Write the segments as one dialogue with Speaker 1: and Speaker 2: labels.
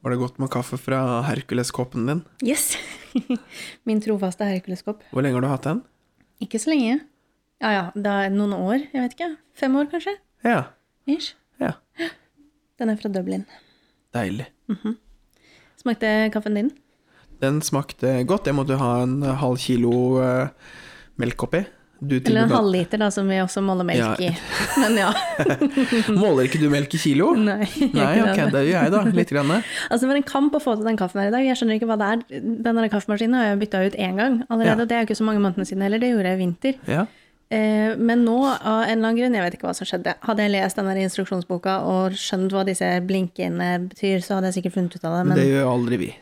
Speaker 1: Var det godt med kaffe fra Herkuleskoppen din?
Speaker 2: Yes! Min trofaste Herkuleskopp.
Speaker 1: Hvor lenge har du hatt den?
Speaker 2: Ikke så lenge. Ja ja, det er noen år. Jeg vet ikke. Fem år, kanskje?
Speaker 1: Ja.
Speaker 2: Ish.
Speaker 1: ja.
Speaker 2: Den er fra Dublin.
Speaker 1: Deilig.
Speaker 2: Smakte kaffen din?
Speaker 1: Den smakte godt. Jeg måtte ha en halv kilo eh, melk oppi. Du
Speaker 2: Eller en
Speaker 1: tilbød-
Speaker 2: halvliter, da, som vi også måler melk
Speaker 1: Ja.
Speaker 2: i. Men ja.
Speaker 1: Måler ikke du melk i kilo?
Speaker 2: Nei. jeg
Speaker 1: Nei,
Speaker 2: gjør ikke
Speaker 1: ok,
Speaker 2: det.
Speaker 1: det gjør jeg da. Litt. Grann.
Speaker 2: Altså, det var en kamp å få til den kaffen her i dag. Jeg skjønner ikke hva det er. Den der kaffemaskinen har jeg bytta ut én gang allerede.
Speaker 1: Ja.
Speaker 2: og Det er jo ikke så mange månedene siden heller. Det gjorde jeg i vinter.
Speaker 1: Ja.
Speaker 2: Eh, Men nå, av en eller annen grunn, jeg vet ikke hva som skjedde. Hadde jeg lest denne instruksjonsboka og skjønt hva disse blinkene betyr, så hadde jeg sikkert funnet ut av det.
Speaker 1: Men
Speaker 2: Men
Speaker 1: det gjør aldri vi.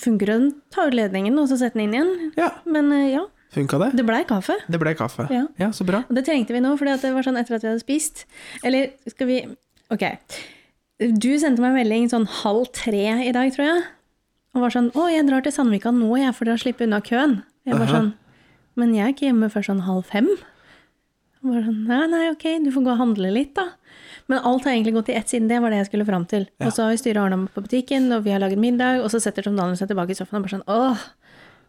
Speaker 2: funker det? Den tar ut ledningen, og så setter den inn igjen.
Speaker 1: Ja,
Speaker 2: Men eh, ja,
Speaker 1: funka det?
Speaker 2: det blei kaffe.
Speaker 1: Det ble kaffe.
Speaker 2: Ja.
Speaker 1: så bra.
Speaker 2: Og det trengte vi nå, fordi at det var sånn etter at vi hadde spist. Eller skal vi Ok. Du sendte meg en melding sånn halv tre i dag, tror jeg. Og var sånn 'Å, jeg drar til Sandvika nå, jeg, for å slippe unna køen'. Jeg var
Speaker 1: Aha.
Speaker 2: sånn 'Men jeg er ikke hjemme før sånn halv fem'. Og var sånn 'Nei, nei, ok, du får gå og handle litt, da'. Men alt har egentlig gått i ett siden. Det var det jeg skulle fram til. Og så har vi styret ordna på butikken, og vi har laget middag, og så setter Tom Daniel seg tilbake i sofaen og bare sånn 'Åh,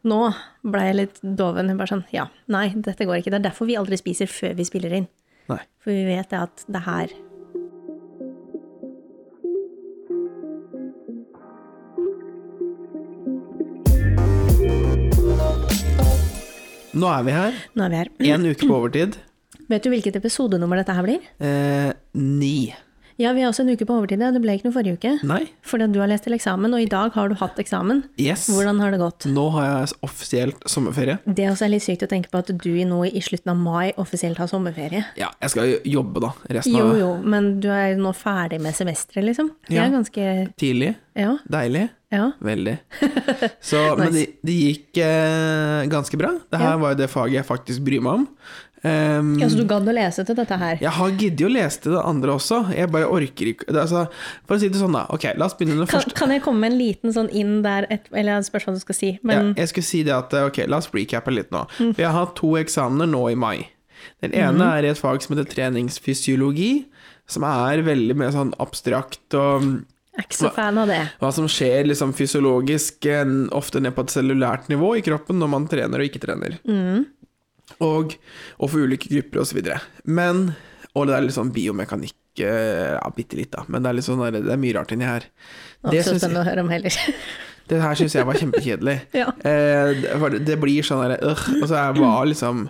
Speaker 2: nå ble jeg litt doven. Hun bare sånn Ja, nei, dette går ikke. Det er derfor vi aldri spiser før vi spiller inn.
Speaker 1: Nei.
Speaker 2: For vi vet det at det her
Speaker 1: Nå er vi her.
Speaker 2: Nå er vi her.
Speaker 1: Én uke på overtid.
Speaker 2: Vet du hvilket episodenummer dette her blir?
Speaker 1: Eh, ni.
Speaker 2: Ja, vi er også en uke på overtid. ja. Det ble ikke noe forrige uke.
Speaker 1: Nei.
Speaker 2: Fordi at du har lest til eksamen, og i dag har du hatt eksamen.
Speaker 1: Yes.
Speaker 2: Hvordan har det gått?
Speaker 1: Nå har jeg offisielt sommerferie.
Speaker 2: Det er også litt sykt å tenke på at du nå i slutten av mai offisielt har sommerferie.
Speaker 1: Ja, jeg skal jo jobbe, da. Resten
Speaker 2: Jo,
Speaker 1: av
Speaker 2: jo, men du er nå ferdig med semesteret, liksom. Det
Speaker 1: Ja.
Speaker 2: er ganske
Speaker 1: Tidlig.
Speaker 2: Ja,
Speaker 1: Deilig.
Speaker 2: ja.
Speaker 1: Veldig. Så, Men det det gikk eh, ganske bra. Det her
Speaker 2: Ja.
Speaker 1: var jo det faget jeg faktisk bryr meg om. Ehm,
Speaker 2: Ja, Så du gadd å lese til dette her?
Speaker 1: jeg har giddet å lese til det andre også. Jeg bare orker ikke det, altså, For å si det sånn, da. Ok, la oss begynne med det
Speaker 2: Kan,
Speaker 1: første.
Speaker 2: kan jeg komme med en liten sånn inn der, et, eller et spørsmål du skal si? Men Mm.
Speaker 1: ja, jeg skulle si det at eh, Ok, la oss recappe litt nå. For jeg har to eksamener nå i mai. Den ene
Speaker 2: Mm-hmm.
Speaker 1: er i et fag som heter treningsfysiologi, som er veldig mer sånn abstrakt og mm,
Speaker 2: jeg er ikke så fan av det.
Speaker 1: hva som skjer liksom, fysiologisk, eh, ofte ned på et cellulært nivå i kroppen når man trener og ikke trener. Og, og for ulike grupper og så videre. Men, og det er litt sånn biomekanikk, eh, ja, bitte litt da, men det er, litt sånn, der- det er mye rart inni her. Det
Speaker 2: Det er ikke så
Speaker 1: syns
Speaker 2: spennende å høre om heller.
Speaker 1: det her syns jeg var kjempekjedelig.
Speaker 2: Ja.
Speaker 1: Eh, det- for det det blir sånn derre øh, Og så jeg var liksom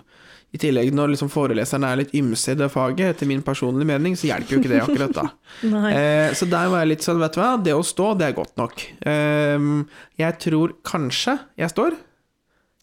Speaker 1: I tillegg, når liksom foreleseren er litt ymse i det faget, etter min personlige mening, så hjelper jo ikke det akkurat da.
Speaker 2: Nei.
Speaker 1: Eh, så der var jeg litt sånn, vet du hva, det å stå, det er godt nok. Ehm, jeg tror kanskje jeg står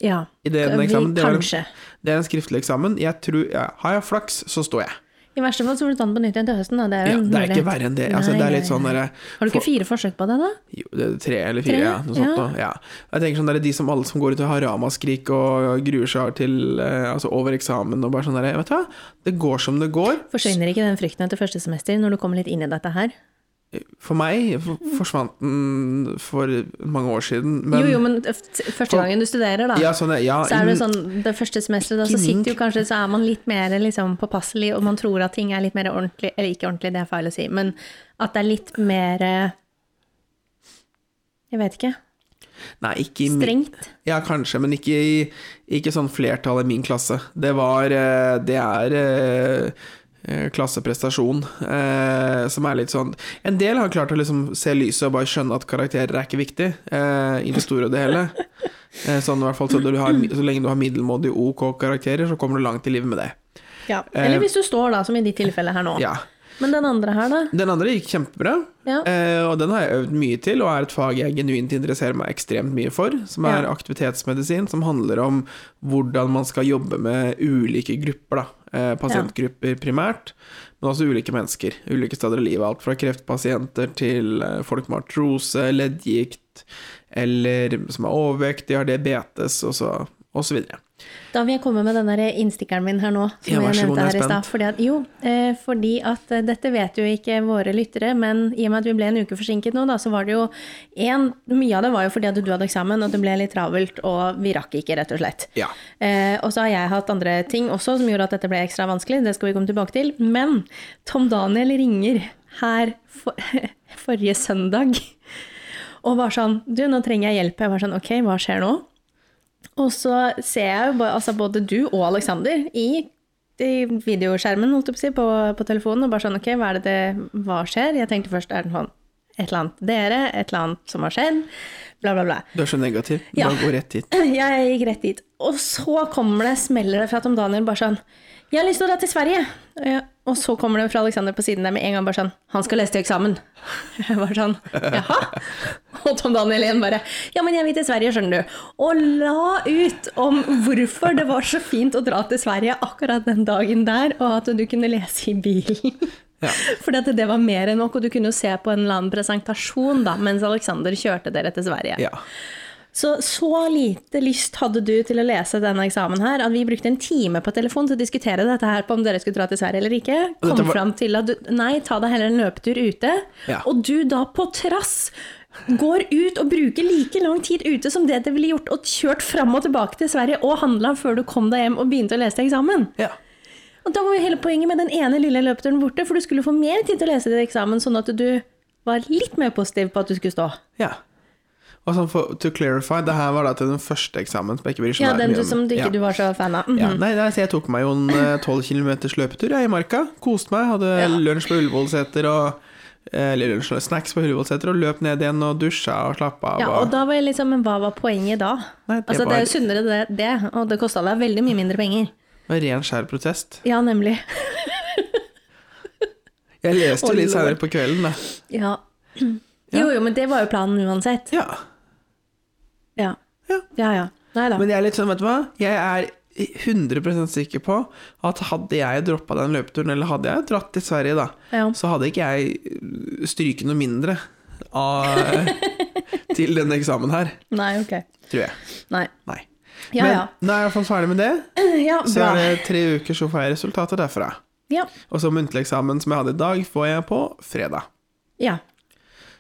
Speaker 2: Ja.
Speaker 1: i den
Speaker 2: Vi-
Speaker 1: eksamen. Det var en,
Speaker 2: kanskje.
Speaker 1: det er en skriftlig eksamen. Jeg tror, ja, har jeg flaks, så står jeg.
Speaker 2: I verste fall så får du ta den på nytt igjen til høsten. Da. Det er, jo
Speaker 1: Ja,
Speaker 2: en
Speaker 1: det er ikke
Speaker 2: mulighet.
Speaker 1: verre enn det. Altså,
Speaker 2: Nei,
Speaker 1: det er
Speaker 2: nei,
Speaker 1: litt sånn
Speaker 2: nei.
Speaker 1: derre
Speaker 2: Har du
Speaker 1: for-
Speaker 2: ikke fire forsøk på det, da?
Speaker 1: Jo, det er tre eller
Speaker 2: Tre,
Speaker 1: fire, ja. Noe sånt
Speaker 2: ja.
Speaker 1: noe. Ja. Jeg tenker sånn der, De som alle som går ut og har ramaskrik og gruer seg til eh, altså over eksamen og bare sånn der, Vet du hva, det går som det går.
Speaker 2: Forsvinner ikke den frykten etter første semester, når du kommer litt inn i dette her?
Speaker 1: For meg f- forsvant den for mange år siden, men
Speaker 2: jo, jo, men f- første gangen du studerer, da.
Speaker 1: ja, sånn, ja,
Speaker 2: Så er det
Speaker 1: inn-
Speaker 2: sånn, det første semesteret, da, så sitter jo kanskje, så er man litt mer liksom, påpasselig, og man tror at ting er litt mer ordentlig, eller ikke ordentlig, det er feil å si, men at det er litt mer eh, Jeg vet ikke.
Speaker 1: Nei, ikke i min-
Speaker 2: Strengt.
Speaker 1: Ja, kanskje, men ikke, i- ikke sånn flertall i min klasse. Det var eh, Det er eh, eh, klasseprestasjon eh, som er litt sånn En del har klart å liksom se lyset og bare skjønne at karakterer er ikke viktig, eh, i det store og det hele. Eh, sånn i hvert fall så, du har, så lenge du har middelmådige OK karakterer, så kommer du langt i livet med det.
Speaker 2: Ja. Eller hvis du står, da, som i de tilfellene her nå.
Speaker 1: Eh, Ja.
Speaker 2: Men den andre her, da?
Speaker 1: Den andre gikk kjempebra,
Speaker 2: Ja.
Speaker 1: eh, og den har jeg øvd mye til, og er et fag jeg genuint interesserer meg ekstremt mye for, som er
Speaker 2: Ja.
Speaker 1: aktivitetsmedisin, som handler om hvordan man skal jobbe med ulike grupper, da. Eh, Pasientgrupper primært, men også ulike mennesker. Ulike steder i livet. Alt fra kreftpasienter til eh, folk med artrose, leddgikt, eller som er overvektige, har diabetes, og så, og så videre.
Speaker 2: Da vil jeg komme med den der innstikkeren min her nå. Som
Speaker 1: Ja, vær så
Speaker 2: jeg
Speaker 1: god,
Speaker 2: nevnte
Speaker 1: jeg er
Speaker 2: her i
Speaker 1: spent.
Speaker 2: stad. Fordi at, jo, eh, fordi at eh, dette vet jo ikke våre lyttere, men i og med at vi ble en uke forsinket nå, da, så var det jo en, Mye av det var jo fordi at du hadde eksamen, og det ble litt travelt, og vi rakk ikke, rett og slett.
Speaker 1: Ja.
Speaker 2: Eh, og så har jeg hatt andre ting også som gjorde at dette ble ekstra vanskelig, det skal vi komme tilbake til. Men Tom Daniel ringer her for, forrige søndag Og var sånn Du, nå trenger jeg hjelp. Jeg var sånn Ok, hva skjer nå? Og så ser jeg jo ba- altså, både du og Aleksander i, i videoskjermen holdt jeg på, å si, på, på telefonen og bare sånn Ok, hva er det det Hva skjer? Jeg tenkte først er det sånn Et eller annet dere, et eller annet som har skjedd, bla, bla, bla.
Speaker 1: Du er så negativ. Du
Speaker 2: Ja.
Speaker 1: bare går rett hit.
Speaker 2: Jeg gikk rett dit. Og så kommer det, smeller det fra Tom Daniel bare sånn Jeg har lyst til å dra til Sverige. Og jeg- Og så kommer det fra Alexander på siden der med en gang bare sånn Han skal lese til eksamen. Jeg var sånn Jaha? Og Tom Daniel igjen bare Ja, men jeg vil til Sverige, skjønner du. Og la ut om hvorfor det var så fint å dra til Sverige akkurat den dagen der, og at du kunne lese i bilen.
Speaker 1: Ja.
Speaker 2: Fordi at det var mer enn nok, og du kunne jo se på en eller annen presentasjon da, mens Alexander kjørte dere til Sverige.
Speaker 1: Ja.
Speaker 2: Så, så lite lyst hadde du til å lese denne eksamen her, at vi brukte en time på telefon til å diskutere dette her på om dere skulle dra til Sverige eller ikke.
Speaker 1: Og dette
Speaker 2: Kom
Speaker 1: var-
Speaker 2: fram til at du, nei, ta deg heller en løpetur ute.
Speaker 1: Ja.
Speaker 2: Og du da på trass går ut og bruker like lang tid ute som det det ville gjort og kjørt fram og tilbake til Sverige og handla før du kom deg hjem og begynte å lese til eksamen.
Speaker 1: ja.
Speaker 2: Og da var jo hele poenget med den ene lille løpeturen borte, for du skulle få mer tid til å lese til eksamen, sånn at du var litt mer positiv på at du skulle stå.
Speaker 1: ja. Og sånn for to clarify, det her var da til den første eksamen. Som jeg ikke bryr
Speaker 2: Ja,
Speaker 1: meg
Speaker 2: den
Speaker 1: mye
Speaker 2: du,
Speaker 1: om.
Speaker 2: som du ikke
Speaker 1: ja.
Speaker 2: du var så fan av. Mhm.
Speaker 1: Ja, nei, nei, så jeg tok meg jo en eh, tolv kilometers løpetur jeg, i marka. Koste meg. Hadde
Speaker 2: Ja.
Speaker 1: lunsj på Ullevålseter og eh, Eller lunsj, snacks på Ullevålseter og løp ned igjen og dusja og slappa av.
Speaker 2: Ja, og da var jeg liksom, men hva var poenget da?
Speaker 1: Nei, det
Speaker 2: altså,
Speaker 1: var-
Speaker 2: det er jo sunnere det, det og det kosta deg veldig mye mindre penger.
Speaker 1: og ren skjær protest.
Speaker 2: Ja, nemlig.
Speaker 1: Jeg leste
Speaker 2: Å,
Speaker 1: jo litt
Speaker 2: lord.
Speaker 1: seinere på kvelden, da.
Speaker 2: Ja. Jo, jo, men det var jo planen uansett.
Speaker 1: Ja.
Speaker 2: Ja.
Speaker 1: Ja.
Speaker 2: ja. ja. Nei da.
Speaker 1: Men jeg er litt sånn, vet du hva. Jeg er 100 sikker på at hadde jeg droppa den løpeturen, eller hadde jeg dratt til Sverige, da,
Speaker 2: Ja.
Speaker 1: så hadde ikke jeg øh, stryket noe mindre av, øh, til denne eksamen her,
Speaker 2: Nei, ok.
Speaker 1: tror jeg.
Speaker 2: Nei.
Speaker 1: Nei.
Speaker 2: Ja,
Speaker 1: Men
Speaker 2: ja.
Speaker 1: nå er jeg i hvert fall ferdig med det.
Speaker 2: Ja,
Speaker 1: Så
Speaker 2: bra.
Speaker 1: er det tre uker, så får jeg resultater derfra.
Speaker 2: Ja.
Speaker 1: Og så muntlig eksamen som jeg hadde i dag, får jeg på fredag.
Speaker 2: ja.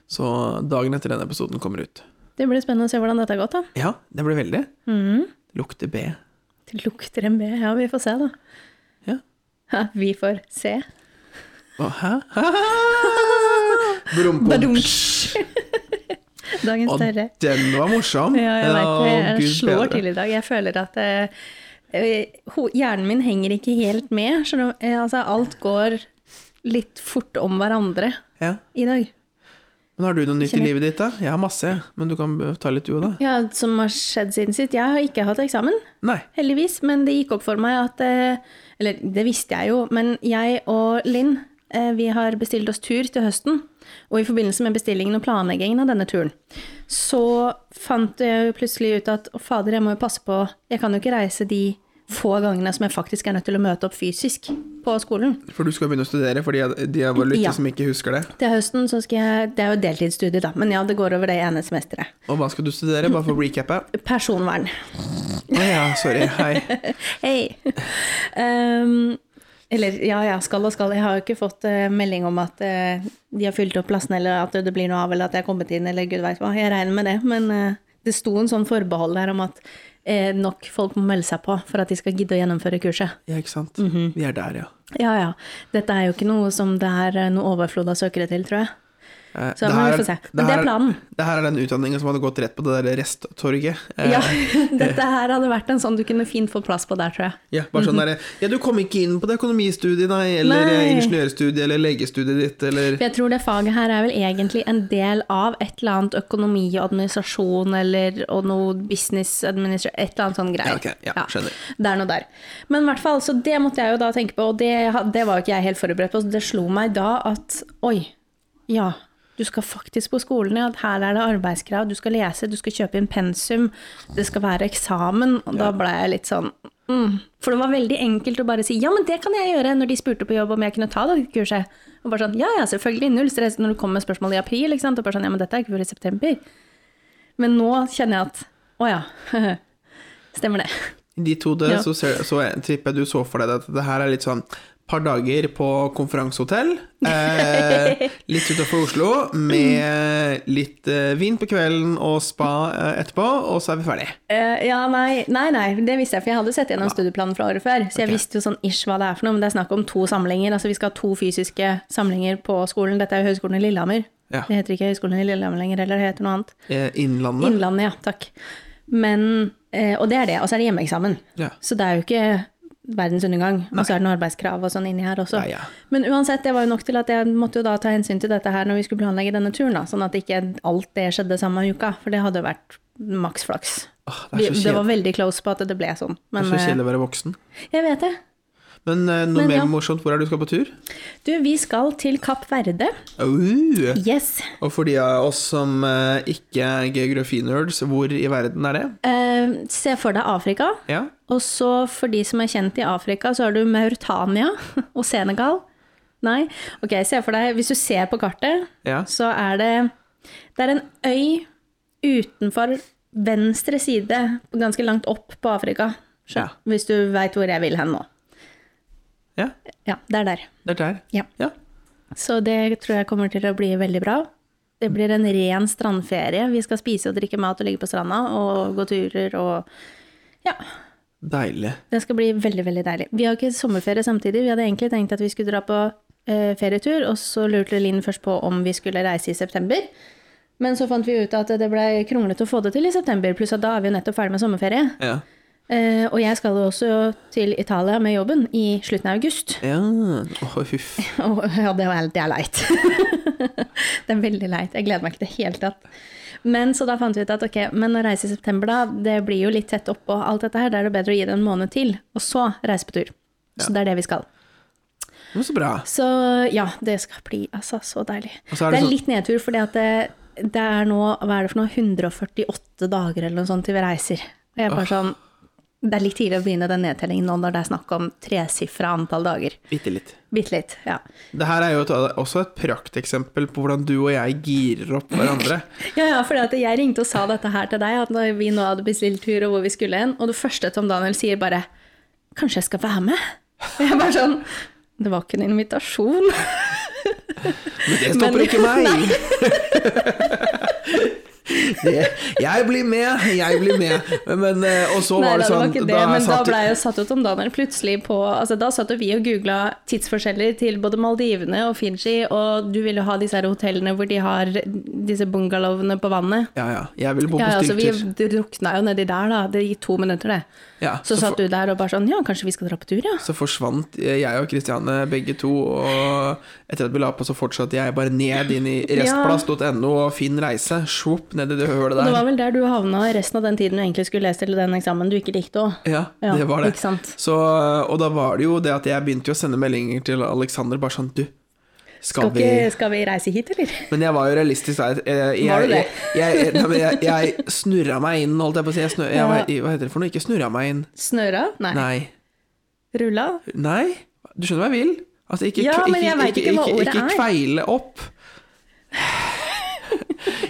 Speaker 1: Så dagen etter denne episoden kommer ut.
Speaker 2: Det blir spennende å se hvordan dette har gått, da.
Speaker 1: Ja, det blir veldig.
Speaker 2: Mm.
Speaker 1: Lukter B.
Speaker 2: Det lukter en B. Ja, vi får se, da.
Speaker 1: Ja.
Speaker 2: Ja, vi får se.
Speaker 1: Å, hæ? Brum, brum.
Speaker 2: Badum. Dagens
Speaker 1: Og
Speaker 2: tørre.
Speaker 1: den var morsom.
Speaker 2: Ja, jeg vet det.
Speaker 1: Å,
Speaker 2: Jeg
Speaker 1: Gud
Speaker 2: slår
Speaker 1: bedre.
Speaker 2: til i dag. Jeg føler at eh, eh, ho- hjernen min henger ikke helt med. skjønner du? Eh, altså, alt går litt fort om hverandre
Speaker 1: Ja.
Speaker 2: i dag.
Speaker 1: Men har du noe nytt i
Speaker 2: Kjenner-
Speaker 1: livet ditt, da? Jeg har masse, men du kan ta litt du òg, da.
Speaker 2: Ja, Som har skjedd siden sist. Jeg har ikke hatt eksamen,
Speaker 1: Nei.
Speaker 2: heldigvis. Men det gikk opp for meg at eh, Eller det visste jeg jo, men jeg og Linn eh, vi har bestilt oss tur til høsten. Og i forbindelse med bestillingen og planleggingen av denne turen, så fant jeg jo plutselig ut at å fader, jeg må jo passe på Jeg kan jo ikke reise de få gangene som jeg faktisk er nødt til å møte opp fysisk på skolen.
Speaker 1: For du skal begynne å studere for de av de av våre lyttere
Speaker 2: Ja.
Speaker 1: som ikke husker det.
Speaker 2: Til høsten så skal jeg Det er jo deltidsstudie, da, men ja, det går over det ene semesteret.
Speaker 1: Og hva skal du studere, bare for å recappe?
Speaker 2: Personvern.
Speaker 1: Å ja, sorry. Hei.
Speaker 2: Hei! Ehm, eller ja, ja, skal og skal. Jeg har jo ikke fått eh, melding om at eh, de har fylt opp plassene, eller at det blir noe av, eller at jeg har kommet inn, eller gud veit hva. Jeg regner med det, men eh, det sto en sånn forbehold der om at eh, nok folk må melde seg på for at de skal gidde å gjennomføre kurset.
Speaker 1: Ja, ikke sant.
Speaker 2: Mhm.
Speaker 1: Vi er der, ja.
Speaker 2: Ja ja. Dette er jo ikke noe som det er eh, noe overflod av søkere til, tror jeg.
Speaker 1: Eh,
Speaker 2: Så men vi får se. Men det er planen.
Speaker 1: Det her er den utdanningen som hadde gått rett på det der resttorget. Eh,
Speaker 2: Ja, dette her hadde vært en sånn du kunne fint få plass på der, tror jeg.
Speaker 1: ja, bare sånn derre Ja, du kom ikke inn på det økonomistudiet, nei, eller
Speaker 2: Mhm. Nei.
Speaker 1: eh, ingeniørstudiet, eller legestudiet ditt, eller
Speaker 2: For jeg tror det faget her er vel egentlig en del av et eller annet økonomi og administrasjon eller og noe business administration, et eller annet sånn
Speaker 1: Ja,
Speaker 2: greier.
Speaker 1: ok. Ja, skjønner.
Speaker 2: Det er noe der. Men i hvert fall, så det måtte jeg jo da tenke på, og det, ha- det var jo ikke jeg helt forberedt på, så det slo meg da at oi, ja. Du skal faktisk på skolen, ja. Her er det arbeidskrav. Du skal lese, du skal kjøpe inn pensum. Det skal være eksamen. Og da ble jeg litt sånn mm. For det var veldig enkelt å bare si ja, men det kan jeg gjøre, når de spurte på jobb om jeg kunne ta det kurset. Og bare sånn ja, ja, selvfølgelig, null stress når du kommer med spørsmål i april, ikke sant. Og bare sånn ja, men dette er ikke før i september. Men nå kjenner jeg at å ja, stemmer det.
Speaker 1: I ditt hode
Speaker 2: Ja.
Speaker 1: så, ser, så jeg- tipper jeg du så for deg at det her er litt sånn par dager på konferansehotell, eh, litt utafor Oslo, med litt eh, vin på kvelden og spa eh, etterpå, og så er vi ferdig.
Speaker 2: Eh, ja, nei, nei, nei, det visste jeg, for jeg hadde sett gjennom studieplanen fra året før. Så jeg
Speaker 1: Ok.
Speaker 2: visste jo sånn ish hva det er for noe, men det er snakk om to samlinger. Altså vi skal ha to fysiske samlinger på skolen. Dette er jo Høgskolen i Lillehammer,
Speaker 1: Ja.
Speaker 2: Det heter ikke Høgskolen i Lillehammer lenger heller, det heter noe annet.
Speaker 1: Eh, Innlandet?
Speaker 2: Innlandet, ja. Takk. Men, eh, og det er det. Og så er det hjemmeeksamen.
Speaker 1: ja.
Speaker 2: Så det er jo ikke verdens undergang. Og så er det noe arbeidskrav og sånn inni her også.
Speaker 1: Nei, ja.
Speaker 2: Men uansett, det var jo nok til at jeg måtte jo da ta hensyn til dette her når vi skulle planlegge denne turen, da. Sånn at ikke alt det skjedde samme uka, for det hadde vært maks flaks.
Speaker 1: Åh, det
Speaker 2: Det,
Speaker 1: er så
Speaker 2: det var
Speaker 1: kjedelig
Speaker 2: veldig close på at det ble sånn.
Speaker 1: Det er
Speaker 2: Men
Speaker 1: så kjedelig å være voksen.
Speaker 2: eh, jeg vet det.
Speaker 1: Men eh, noe
Speaker 2: Men
Speaker 1: mer
Speaker 2: ja.
Speaker 1: morsomt, hvor er det du skal på tur?
Speaker 2: Du, vi skal til Kapp Verde.
Speaker 1: Au!
Speaker 2: Yes.
Speaker 1: Og for de av oss som eh, ikke er geografinerds, hvor i verden er det?
Speaker 2: Eh, se for deg Afrika.
Speaker 1: Ja,
Speaker 2: Og så for de som er kjent i Afrika, så har du Mauritania og Senegal. Nei, ok, se for deg, hvis du ser på kartet,
Speaker 1: ja.
Speaker 2: så er det Det er en øy utenfor venstre side, ganske langt opp på Afrika. Så,
Speaker 1: Ja.
Speaker 2: Hvis du veit hvor jeg vil hen nå.
Speaker 1: Ja,
Speaker 2: Ja, det er der.
Speaker 1: det er der.
Speaker 2: Ja.
Speaker 1: Ja.
Speaker 2: Så det tror jeg kommer til å bli veldig bra. Det blir en ren strandferie. Vi skal spise og drikke mat og ligge på stranda og gå turer og Ja.
Speaker 1: Deilig.
Speaker 2: Det skal bli veldig, veldig deilig. Vi har ikke sommerferie samtidig. Vi hadde egentlig tenkt at vi skulle dra på eh, ferietur, og så lurte Linn først på om vi skulle reise i september. Men så fant vi ut at det ble kronglete å få det til i september, pluss at da er vi jo nettopp ferdig med sommerferie.
Speaker 1: Ja.
Speaker 2: Eh, og jeg skal jo også til Italia med jobben i slutten av august.
Speaker 1: ja. Åh, huff.
Speaker 2: Og ja, det er, det er leit. det er veldig leit. Jeg gleder meg ikke i det hele tatt. Men så da fant vi ut at ok, men å reise i september, da, det blir jo litt tett oppå alt dette her. Da er det bedre å gi det en måned til, og så reise på tur. Så det er det vi skal.
Speaker 1: Men så bra.
Speaker 2: Så ja, det skal bli altså så deilig.
Speaker 1: Og
Speaker 2: det,
Speaker 1: så er
Speaker 2: er
Speaker 1: det sånn-
Speaker 2: litt nedtur, fordi at det, det er nå, hva er det for noe, 148 dager eller noe sånt til vi reiser. Og jeg er bare sånn Det er litt tidlig å begynne den nedtellingen nå når det er snakk om tresifra antall dager.
Speaker 1: Bitte litt.
Speaker 2: Bitte litt, ja.
Speaker 1: Det her er jo et, også et prakteksempel på hvordan du og jeg girer opp hverandre.
Speaker 2: Ja, ja, for jeg ringte og sa dette her til deg, at når vi nå hadde bestilt tur og hvor vi skulle hen, og det første Tom Daniel sier bare 'Kanskje jeg skal være med?' Og jeg bare sånn Det var ikke en invitasjon.
Speaker 1: Men det stopper
Speaker 2: Men-
Speaker 1: ikke meg! det, jeg blir med, jeg blir med. Men, eh, og så
Speaker 2: Nei,
Speaker 1: var
Speaker 2: da,
Speaker 1: det sånn
Speaker 2: ikke det, men da
Speaker 1: satt-
Speaker 2: ble jo satt jo Tom Daniel plutselig på altså Da satt jo vi og googla tidsforskjeller til både Maldivene og Fiji, og du ville jo ha disse her hotellene hvor de har disse bungalowene på vannet.
Speaker 1: Ja, ja. Jeg ville bo på
Speaker 2: Ja, altså Vi
Speaker 1: styrtur.
Speaker 2: drukna jo nedi der, da. Det gikk to minutter, det.
Speaker 1: Ja,
Speaker 2: Så
Speaker 1: så
Speaker 2: satt du der og bare sånn Ja, kanskje vi skal dra på tur, ja?
Speaker 1: Så forsvant eh, jeg og Kristiane begge to, og etter at vi la på, så fortsatte jeg bare ned inn i restplass.no og Finn reise. Svopp ned i det hølet
Speaker 2: Og det
Speaker 1: der.
Speaker 2: var vel der du havna resten av den tiden du egentlig skulle lese til den eksamen du ikke likte òg.
Speaker 1: Ja, det var det.
Speaker 2: Ikke sant?
Speaker 1: Så, og da var det jo det at jeg begynte jo å sende meldinger til Alexander bare sånn Du, skal
Speaker 2: Skal,
Speaker 1: vi
Speaker 2: ikke, skal vi reise hit, eller?
Speaker 1: Men jeg var jo realistisk der. Jeg,
Speaker 2: Var du det?
Speaker 1: Jeg, jeg, nei, men jeg, jeg snurra meg inn, holdt jeg på å si. Jeg snur, jeg,
Speaker 2: Ja.
Speaker 1: var- hva heter det for noe? Ikke snurra meg inn.
Speaker 2: Snøra? Nei.
Speaker 1: Nei.
Speaker 2: Rulla?
Speaker 1: Nei. Du skjønner hva jeg vil? Altså, ikke,
Speaker 2: Ja,
Speaker 1: ikke,
Speaker 2: men jeg vet ikke hva ordet
Speaker 1: ikke
Speaker 2: er.
Speaker 1: kveile opp.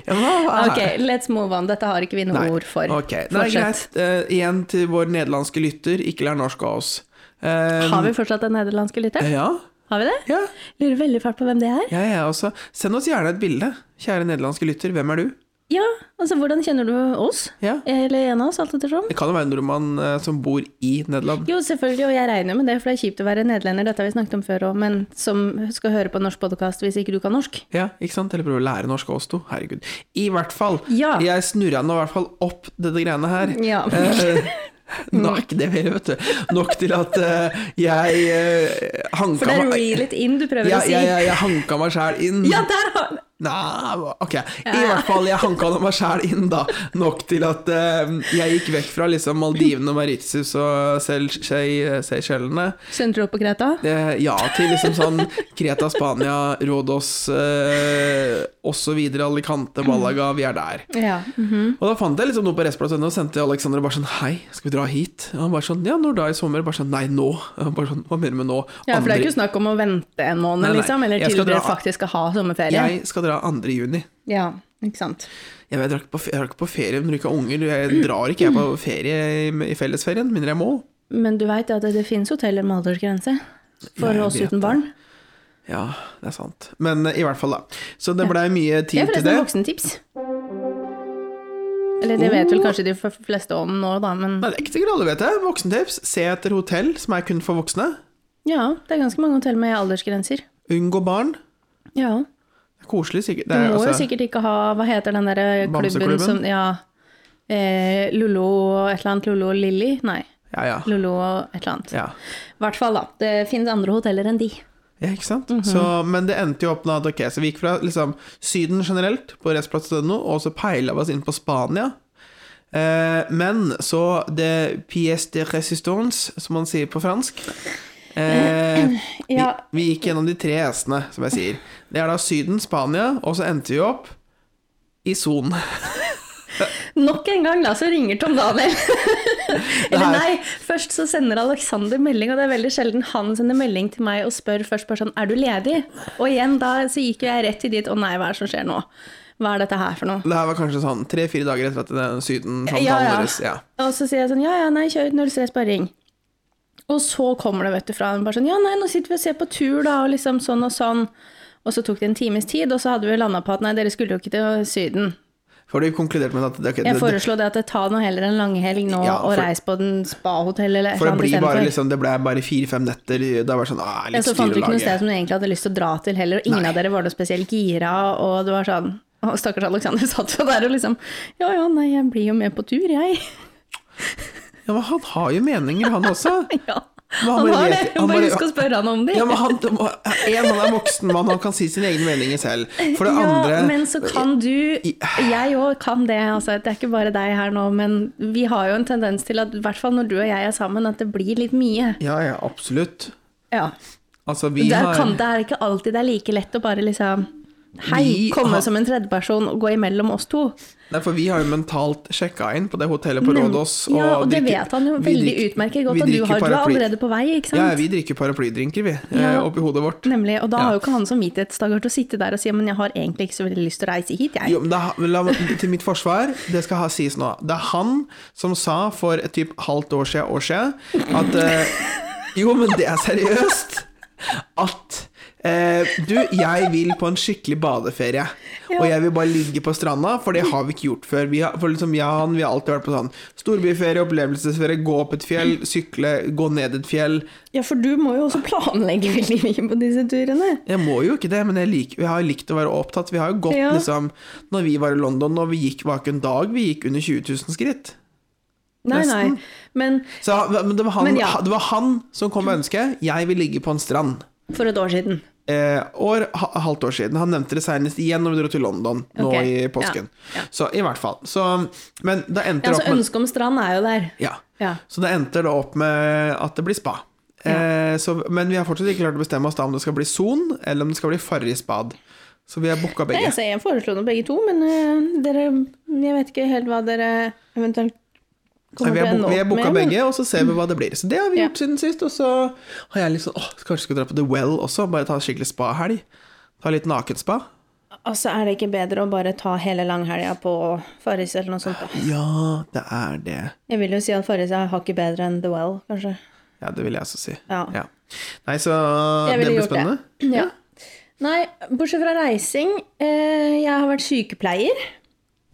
Speaker 1: Ja, hva er
Speaker 2: Ok, let's move on. Dette har ikke vi noe
Speaker 1: Nei.
Speaker 2: ord for.
Speaker 1: Ok, Nei,
Speaker 2: Fortsett.
Speaker 1: greit. Eh, igjen til vår nederlandske lytter, ikke lær norsk av oss. Eh,
Speaker 2: Har vi fortsatt den nederlandske lytteren?
Speaker 1: Ja,
Speaker 2: Har vi det?
Speaker 1: ja.
Speaker 2: Lurer veldig fælt på hvem det er.
Speaker 1: Jeg er også. Send oss gjerne et bilde, kjære nederlandske lytter. Hvem er du?
Speaker 2: Ja, altså hvordan kjenner du oss?
Speaker 1: Ja.
Speaker 2: Eller en av oss, alt ettersom?
Speaker 1: Det kan jo være en nordmann eh, som bor i Nederland.
Speaker 2: Jo, selvfølgelig, og jeg regner med det, for det er kjipt å være nederlender, dette har vi snakket om før òg, men som skal høre på norsk podkast hvis ikke du kan norsk.
Speaker 1: Ja, ikke sant? Eller prøve å lære norsk av oss to. Herregud. I hvert fall.
Speaker 2: Ja.
Speaker 1: Jeg snurra nå i hvert fall opp dette greiene her.
Speaker 2: Ja.
Speaker 1: Eh, nå er ikke det mer, vet du. Nok til at eh, jeg eh, hanka
Speaker 2: For det er
Speaker 1: meg
Speaker 2: reel it in du prøver
Speaker 1: ja,
Speaker 2: å si.
Speaker 1: ja, ja, jeg hanka meg sjæl inn.
Speaker 2: ja der har
Speaker 1: Nei, ok. I hvert fall, jeg hanka meg sjæl inn, da. Nok til at eh, jeg gikk vekk fra liksom Maldivene og Mauritius og Seychell- Seychellene.
Speaker 2: Skjønte du opp på Greta?
Speaker 1: Eh, ja, til liksom sånn Kreta, Spania, Rådås eh, osv. Alicante, Malaga, vi er der.
Speaker 2: Ja.
Speaker 1: Og da fant jeg liksom noe på restplass.no og sendte til Alexander og bare sånn Hei, skal vi dra hit? Og han bare sånn Ja, når da i sommer? Bare sånn Nei, nå. Og Bare sånn, Hva mener du med nå?
Speaker 2: Ja, for det er
Speaker 1: Andre-
Speaker 2: ikke snakk om å vente en måned,
Speaker 1: Nei, nei.
Speaker 2: liksom, eller
Speaker 1: Jeg
Speaker 2: til
Speaker 1: skal
Speaker 2: dere
Speaker 1: dra-
Speaker 2: faktisk skal ha sommerferie.
Speaker 1: Jeg skal dra 2. juni.
Speaker 2: Ja, ikke sant.
Speaker 1: Jeg, vet, jeg, drar ikke på, fe- jeg drar ikke på ferie, men du ikke har unger. Jeg drar ikke jeg på ferie i, i fellesferien, mindre jeg må.
Speaker 2: Men du veit at det finnes hoteller med aldersgrense for
Speaker 1: Jeg
Speaker 2: oss
Speaker 1: vet
Speaker 2: uten barn?
Speaker 1: Ja, det er sant. Men eh, i hvert fall, da. Så det blei mye
Speaker 2: Det
Speaker 1: tid
Speaker 2: er
Speaker 1: til
Speaker 2: forresten
Speaker 1: det.
Speaker 2: et voksentips. Eller det
Speaker 1: Oh.
Speaker 2: vet vel kanskje de f- fleste om nå, da, men
Speaker 1: Nei, det er ikke sikkert alle vet det. Voksentips. Se etter hotell som er kun for voksne.
Speaker 2: ja, det er ganske mange hotell med aldersgrenser.
Speaker 1: Unngå barn.
Speaker 2: Ja.
Speaker 1: Det er koselig, sikkert.
Speaker 2: Du
Speaker 1: Det er,
Speaker 2: må jo
Speaker 1: altså,
Speaker 2: sikkert ikke ha Hva heter den derre klubben
Speaker 1: Bamseklubben?
Speaker 2: som Ja. Eh, Lollo og et eller annet. Lollo og Lilly? Nei.
Speaker 1: ja, ja.
Speaker 2: Lollo og et eller annet.
Speaker 1: ja.
Speaker 2: I hvert fall, da. Det finnes andre hoteller enn de.
Speaker 1: Ja, ikke sant?
Speaker 2: Mhm.
Speaker 1: så, men det endte jo opp med at ok, så vi gikk fra liksom, Syden generelt, på Resplass til noe, og så peila vi oss inn på Spania. Eh, men så det pièce de résistance, som man sier på fransk eh, vi,
Speaker 2: Mm. Ja,
Speaker 1: vi gikk gjennom de tre S-ene, som jeg sier. Det er da Syden, Spania, og så endte vi opp i Son.
Speaker 2: Nok en gang da, så ringer Tom Daniel. Eller
Speaker 1: Nei.
Speaker 2: nei, først så sender Alexander melding, og det er veldig sjelden han sender melding til meg og spør først bare sånn, er du ledig? Og igjen da, så gikk jo jeg rett til dit, å nei, hva er det som skjer nå? Hva er dette her for noe?
Speaker 1: Det her var kanskje sånn tre-fire dager etter at den Syden-samtalen
Speaker 2: Ja, ja.
Speaker 1: vår. Ja.
Speaker 2: Og så sier jeg sånn, ja, ja, nei, kjør når du stress, bare ring. Og så kommer det, vet du, fra en bare sånn, ja, nei, nå sitter vi og ser på tur da, og liksom sånn og sånn. Og så tok det en times tid, og så hadde vi landet på at, nei, dere skulle jo ikke til syden.
Speaker 1: For du konkluderte med at ok,
Speaker 2: Jeg
Speaker 1: det,
Speaker 2: foreslo det at jeg tar nå heller en langhelg nå
Speaker 1: Ja,
Speaker 2: og
Speaker 1: for-
Speaker 2: reis på den spa-hotell eller et
Speaker 1: For
Speaker 2: eller
Speaker 1: det
Speaker 2: annet
Speaker 1: blir bare
Speaker 2: istedenfor.
Speaker 1: liksom, det ble bare fire-fem netter. Da var det sånn ah,
Speaker 2: Ja,
Speaker 1: litt
Speaker 2: Så fant du ikke noe
Speaker 1: styrelaget.
Speaker 2: sted som du egentlig hadde lyst til å dra til heller, og ingen
Speaker 1: Nei.
Speaker 2: av dere var noe spesielt gira, og det var sånn og Stakkars Alexander satt jo der og liksom Ja ja, nei, jeg blir jo med på tur, jeg.
Speaker 1: Ja, men han har jo meninger, han også.
Speaker 2: Ja.
Speaker 1: Men han
Speaker 2: Han
Speaker 1: bare
Speaker 2: har det.
Speaker 1: vet- han
Speaker 2: Bare
Speaker 1: bare-
Speaker 2: husk å spørre han om det.
Speaker 1: Ja, men han, en, han er voksen mann, han kan si sine egne meninger selv. For det
Speaker 2: Ja,
Speaker 1: andre
Speaker 2: men så kan du Jeg òg kan det, altså. Det er ikke bare deg her nå, men vi har jo en tendens til at, i hvert fall når du og jeg er sammen, at det blir litt mye.
Speaker 1: Ja, ja, absolutt.
Speaker 2: Ja.
Speaker 1: Altså, vi
Speaker 2: Der
Speaker 1: har
Speaker 2: kan det er ikke alltid det er like lett å bare liksom
Speaker 1: Vi
Speaker 2: Hei, komme
Speaker 1: har-
Speaker 2: som en tredjeperson og gå imellom oss to.
Speaker 1: Nei, for vi har jo mentalt sjekka inn på det hotellet på Rådås.
Speaker 2: Ja, og det
Speaker 1: drikker-
Speaker 2: vet han jo
Speaker 1: vi
Speaker 2: veldig
Speaker 1: drikker-
Speaker 2: utmerket
Speaker 1: vi
Speaker 2: godt, og du,
Speaker 1: drikker
Speaker 2: har, du er
Speaker 1: paraply.
Speaker 2: allerede på vei, ikke
Speaker 1: Ja,
Speaker 2: sant?
Speaker 1: vi drikker paraplydrinker, vi.
Speaker 2: Ja.
Speaker 1: eh, Oppi hodet vårt.
Speaker 2: Nemlig. Og da
Speaker 1: Ja.
Speaker 2: har jo ikke han samvittighetsdager til å sitte der og si men jeg har egentlig ikke så veldig lyst til å reise hit, jeg.
Speaker 1: Jo, men det, er- men la, meg- til mitt forsvar, det skal ha, sies nå. Det er han som sa for et typ halvt år siden, år siden at eh, Jo, men det er seriøst. At eh, Du, jeg vil på en skikkelig badeferie. Og jeg vil bare ligge på stranda, for det har vi ikke gjort før. Vi har, for liksom, jeg og han vi har alltid vært på sånn storbyferie, opplevelsesferie, gå opp et fjell, sykle, gå ned et fjell.
Speaker 2: Ja, for du må jo også planlegge veldig mye på disse turene.
Speaker 1: Jeg må jo ikke det, men jeg, lik, jeg har jo likt å være opptatt. Vi har jo gått
Speaker 2: Ja.
Speaker 1: liksom Når vi var i London, og vi gikk var ikke en dag vi gikk under 20 000 skritt.
Speaker 2: Nei, nei.
Speaker 1: Nesten.
Speaker 2: Men
Speaker 1: Så men det, var han,
Speaker 2: Men ja.
Speaker 1: det var han som kom med ønsket. Jeg vil ligge på en strand.
Speaker 2: for et år siden.
Speaker 1: Eh, år, ha, halvt år siden. Han nevnte det senest igjen når vi dro til London nå
Speaker 2: Ok,
Speaker 1: i påsken.
Speaker 2: ja, ja.
Speaker 1: Så i hvert fall. Så, men det endte
Speaker 2: Ja, så
Speaker 1: opp med
Speaker 2: ønsket om strand er jo der.
Speaker 1: ja.
Speaker 2: Ja.
Speaker 1: Så det endte da opp med at det blir spa. Eh, så, men vi har fortsatt ikke klart å bestemme oss da om det skal bli Son eller om det skal bli Farrisbad. Så vi har booka
Speaker 2: Nei,
Speaker 1: begge.
Speaker 2: altså, jeg foreslo nå begge to, men øh, dere Jeg vet ikke helt hva dere eventuelt
Speaker 1: Nei,
Speaker 2: kommer
Speaker 1: vi
Speaker 2: til å
Speaker 1: har,
Speaker 2: ende
Speaker 1: bo- vi har
Speaker 2: opp
Speaker 1: booka
Speaker 2: med. men-
Speaker 1: begge, og så ser vi hva det blir. Så det har vi
Speaker 2: Ja.
Speaker 1: gjort siden sist. Og så har jeg litt sånn åh, kanskje skal dra på The Well også. Bare ta en skikkelig spahelg. Ta litt nakenspa.
Speaker 2: Altså, er det ikke bedre å bare ta hele langhelga på Farris eller noe sånt? da?
Speaker 1: Ja, det er det.
Speaker 2: Jeg vil jo si at Farris er hakket bedre enn The Well, kanskje.
Speaker 1: Ja, det vil jeg også si.
Speaker 2: Ja.
Speaker 1: Nei, så det
Speaker 2: Jeg ville
Speaker 1: blir
Speaker 2: gjort
Speaker 1: spennende.
Speaker 2: det. Ja. Nei, bortsett fra reising. Eh, jeg har vært sykepleier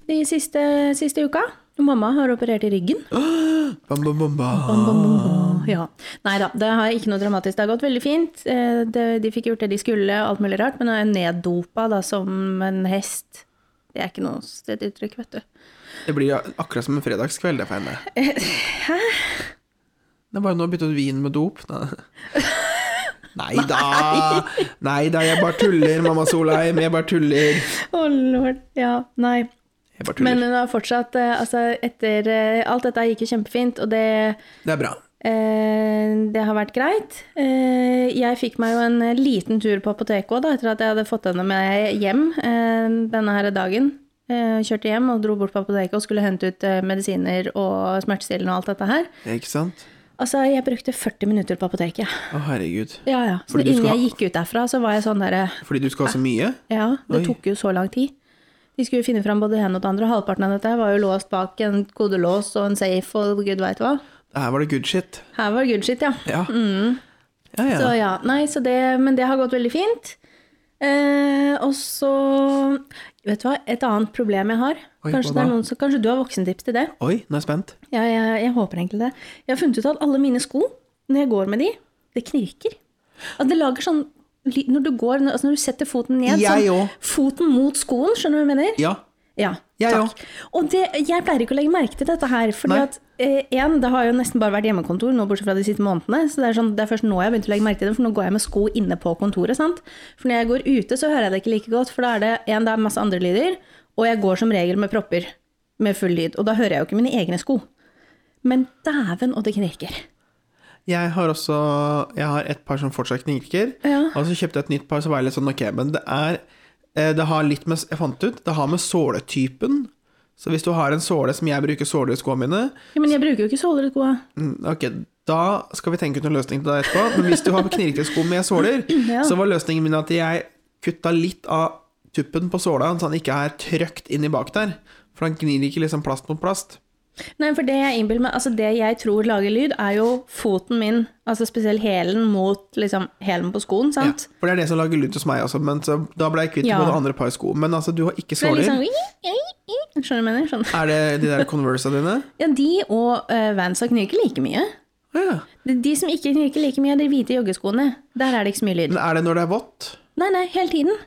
Speaker 2: de siste, siste uka. Mamma har operert i ryggen.
Speaker 1: Bam, bam, bam, bam.
Speaker 2: Ja. Nei da, det har ikke noe dramatisk. Det har gått veldig fint. Eh, det, de fikk gjort det de skulle, alt mulig rart, men nå er jeg neddopa da, som en hest. Det er ikke noe stedig uttrykk, vet du.
Speaker 1: Det blir akkurat som en fredagskveld, det for henne. Hæ? Det er bare nå byttet du vin med dop. Nei da! Nei da, jeg bare tuller, mamma Solheim. Jeg bare tuller.
Speaker 2: Å, lord. Ja, nei.
Speaker 1: Jeg bare
Speaker 2: Men
Speaker 1: tuller.
Speaker 2: hun har fortsatt eh, Altså, etter eh, Alt dette gikk jo kjempefint, og det,
Speaker 1: Det er bra.
Speaker 2: eh, det har vært greit. Eh, jeg fikk meg jo en eh, liten tur på apoteket òg, etter at jeg hadde fått henne med hjem eh, denne her dagen. Eh, kjørte hjem og dro bort på apoteket og skulle hente ut eh, medisiner og smertestillende og alt dette her.
Speaker 1: Ikke sant?
Speaker 2: Altså, jeg brukte 40 minutter på apoteket.
Speaker 1: Å, herregud.
Speaker 2: Ja, ja. Så
Speaker 1: Fordi du
Speaker 2: innen
Speaker 1: skal ha-
Speaker 2: jeg gikk ut derfra, så var jeg sånn derre
Speaker 1: Fordi du skal ha så mye?
Speaker 2: Ja, det
Speaker 1: Oi.
Speaker 2: tok jo så lang tid. De skulle jo finne fram både det ene og det andre. Halvparten av dette var jo låst bak en kodelås og en safe og gud veit hva.
Speaker 1: Her var det good shit.
Speaker 2: Her var det good shit, ja.
Speaker 1: Ja. Ja, ja.
Speaker 2: Mm. Så ja, nei, så det, Men det har gått veldig fint. Eh, og så Vet du hva, et annet problem jeg har.
Speaker 1: Oi,
Speaker 2: kanskje,
Speaker 1: hva
Speaker 2: det er
Speaker 1: da?
Speaker 2: noen som, kanskje du har voksentips til det?
Speaker 1: Oi, nå er jeg spent.
Speaker 2: Ja, jeg, jeg håper egentlig det. Jeg har funnet ut at alle mine sko, når jeg går med de, det knirker. Altså, det lager sånn ly- Når du går, når, altså når du setter foten ned
Speaker 1: Jeg
Speaker 2: sånn,
Speaker 1: òg.
Speaker 2: Foten mot skoen, skjønner du hva jeg mener?
Speaker 1: Ja.
Speaker 2: Ja,
Speaker 1: Jeg
Speaker 2: takk. Og det, jeg pleier ikke å legge merke til dette her, fordi
Speaker 1: Nei.
Speaker 2: at eh, en, det har jo nesten bare vært hjemmekontor nå bortsett fra de siste månedene, så det er, sånn, det er først nå jeg har begynt å legge merke til det, for nå går jeg med sko inne på kontoret, sant? For når jeg går ute så hører jeg det ikke like godt, for da er det en, det er masse andre lyder, og jeg går som regel med propper med full lyd, og da hører jeg jo ikke mine egne sko. Men dæven, og det knirker.
Speaker 1: Jeg har også Jeg har et par som fortsatt knirker.
Speaker 2: Ja.
Speaker 1: Og så kjøpte jeg et nytt par, så var jeg litt sånn ok, men det er eh, Det har litt med Jeg fant ut, det har med såletypen Så hvis du har en såle som jeg bruker såler i skoene mine,
Speaker 2: Ja, men jeg bruker jo ikke såler i skoa.
Speaker 1: mm, ok, da skal vi tenke ut en løsning til deg etterpå. Men hvis du har knirkete sko med såler,
Speaker 2: Ja.
Speaker 1: så var løsningen min at jeg kutta litt av tuppen på såla, så han ikke er trøkt inni bak der. For han gnir ikke liksom plast mot plast.
Speaker 2: Nei, for det jeg innbiller meg, altså det jeg tror lager lyd, er jo foten min, altså spesielt hælen mot liksom hælen på skoen,
Speaker 1: Ja,
Speaker 2: sant?
Speaker 1: for det er det som lager lyd hos meg også, men så, da ble jeg kvitt
Speaker 2: Ja.
Speaker 1: både andre par sko. Men altså, du har ikke
Speaker 2: Så
Speaker 1: såler.
Speaker 2: det er liksom, skjønner du hva jeg mener? Sånn.
Speaker 1: Er det de der Conversa dine?
Speaker 2: Ja, de og uh, Vansa knirker like mye.
Speaker 1: Å ja.
Speaker 2: De, de som ikke knirker like mye, er de hvite joggeskoene. Der er det ikke så mye lyd.
Speaker 1: Men er det når det er vått?
Speaker 2: Nei, nei, hele tiden.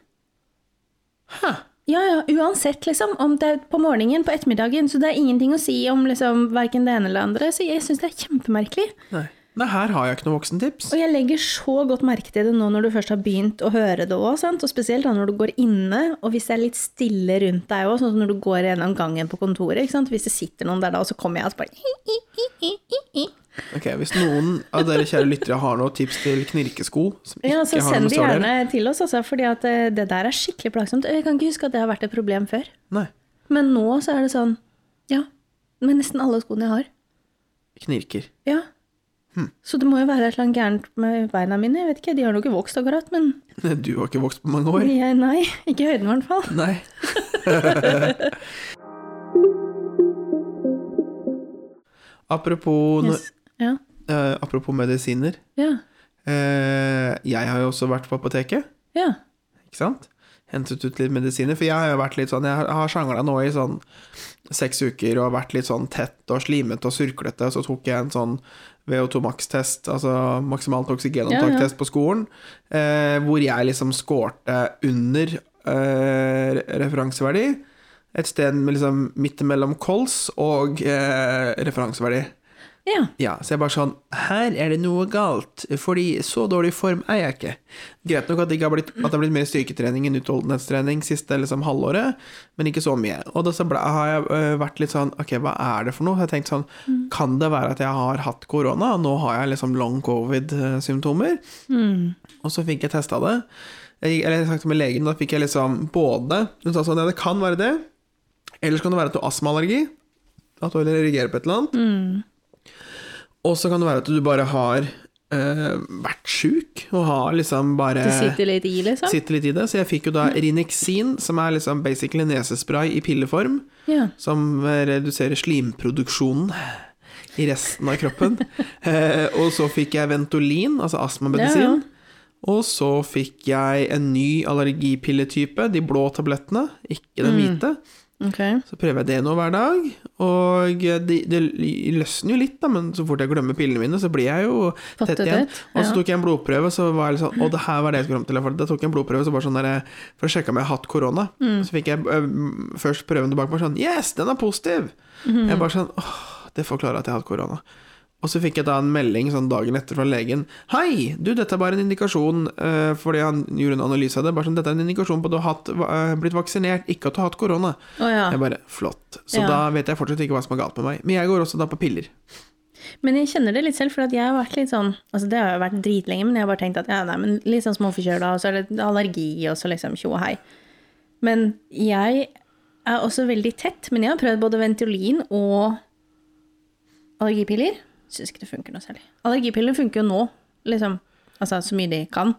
Speaker 2: Ja, ja, uansett, liksom. Om det er på morgenen, på ettermiddagen, så det er ingenting å si om liksom verken det ene eller det andre. Så jeg syns det er kjempemerkelig.
Speaker 1: Nei. Nei, her har jeg ikke noe voksentips.
Speaker 2: Og jeg legger så godt merke til det nå når du først har begynt å høre det òg, og spesielt da når du går inne, og hvis det er litt stille rundt deg òg, sånn som når du går gjennom gangen på kontoret, ikke sant? hvis det sitter noen der da, og så kommer jeg og så bare
Speaker 1: Ok, Hvis noen av dere kjære lyttere har noen tips til knirkesko som ikke
Speaker 2: Ja, så
Speaker 1: har noe
Speaker 2: send
Speaker 1: med
Speaker 2: det
Speaker 1: såler
Speaker 2: gjerne til oss, altså, fordi at eh, det der er skikkelig plagsomt. Jeg kan ikke huske at det har vært et problem før.
Speaker 1: Nei.
Speaker 2: Men nå så er det sånn, ja, med nesten alle skoene jeg har.
Speaker 1: Knirker.
Speaker 2: Ja.
Speaker 1: Hm.
Speaker 2: Så det må jo være et eller annet gærent med beina mine. Jeg vet ikke, De har jo ikke vokst akkurat, men
Speaker 1: Du har ikke vokst på mange år.
Speaker 2: jeg, nei, ikke i høyden i hvert fall.
Speaker 1: Nei. apropos, når-
Speaker 2: Yes. Ja.
Speaker 1: eh, apropos medisiner.
Speaker 2: Ja.
Speaker 1: Eh, jeg har jo også vært på apoteket.
Speaker 2: Ja.
Speaker 1: ikke sant? Hentet ut litt medisiner, for jeg har jo vært litt sånn, jeg har sjangla nå i sånn seks uker og vært litt sånn tett og slimete og surklete, og så tok jeg en sånn VO2 max-test, altså maksimalt
Speaker 2: Ja, ja.
Speaker 1: oksygenantak-test på skolen, eh, hvor jeg liksom skårte under eh, re- referanseverdi, et sted med liksom midt mellom kols og eh, referanseverdi.
Speaker 2: ja.
Speaker 1: Ja, så jeg bare sånn Her er det noe galt, fordi så dårlig form er jeg ikke. Greit nok at det, ikke har blitt, at det har blitt mer styrketrening enn utholdenhetstrening siste liksom, halvåret, men ikke så mye. Og da så ble, har jeg øh, vært litt sånn Ok, hva er det for noe? Så Jeg har tenkt sånn Kan det være at jeg har hatt korona, og nå har jeg liksom long covid-symptomer? Og så fikk jeg testa det. Jeg, gikk- eller jeg snakket med legen, da fikk jeg liksom både Hun sa sånn Ja, det kan være det. Ellers kan det være at du har astmaallergi. At du reagerer på et eller annet.
Speaker 2: Mm.
Speaker 1: Og så kan det være at du bare har eh, vært sjuk, og har liksom bare
Speaker 2: Det Mm. sitter litt i, liksom?
Speaker 1: sitter litt i det. Så jeg fikk jo da Rinexin, som er liksom basically nesespray i pilleform,
Speaker 2: Ja.
Speaker 1: som eh, reduserer slimproduksjonen i resten av kroppen. Eh, og så fikk jeg Ventolin, altså astmamedisin.
Speaker 2: Ja, ja.
Speaker 1: Og så fikk jeg en ny allergipilletype, de blå tablettene, ikke den hvite.
Speaker 2: Ok.
Speaker 1: Så prøver jeg det nå hver dag, og det, det løsner jo litt, da, men så fort jeg glemmer pillene mine, så blir jeg jo tett
Speaker 2: Fattet
Speaker 1: igjen.
Speaker 2: ut,
Speaker 1: Og så
Speaker 2: ja.
Speaker 1: tok jeg en blodprøve, så var jeg litt sånn Å, det her var det jeg skulle fram til. Da tok jeg en blodprøve så bare sånn der, for å sjekke om jeg har hatt korona.
Speaker 2: Mm.
Speaker 1: Så fikk jeg øhm, først prøven tilbake, bare sånn Yes, den er positiv!
Speaker 2: Mm-hmm.
Speaker 1: Jeg bare sånn Åh, det forklarer at jeg har hatt korona. Og så fikk jeg da en melding sånn dagen etter fra legen. 'Hei, du, dette er bare en indikasjon' eh, Fordi han gjorde en analyse av det. Bare sånn, 'Dette er en indikasjon på at du har hatt, eh, blitt vaksinert, ikke at du har hatt korona'.
Speaker 2: Å ja.
Speaker 1: Jeg bare, flott. Så
Speaker 2: Ja.
Speaker 1: da vet jeg fortsatt ikke hva som er galt med meg. Men jeg går også da på piller.
Speaker 2: Men jeg kjenner det litt selv, for at jeg har vært litt sånn Altså, det har jo vært dritlenge, men jeg har bare tenkt at ja, nei, men litt sånn småforkjøla, og så er det allergi, og så liksom tjo og hei. Men jeg er også veldig tett, men jeg har prøvd både Ventolin og allergipiller. Syns ikke det funker noe særlig. Allergipiller funker jo nå, liksom. Altså så mye de kan.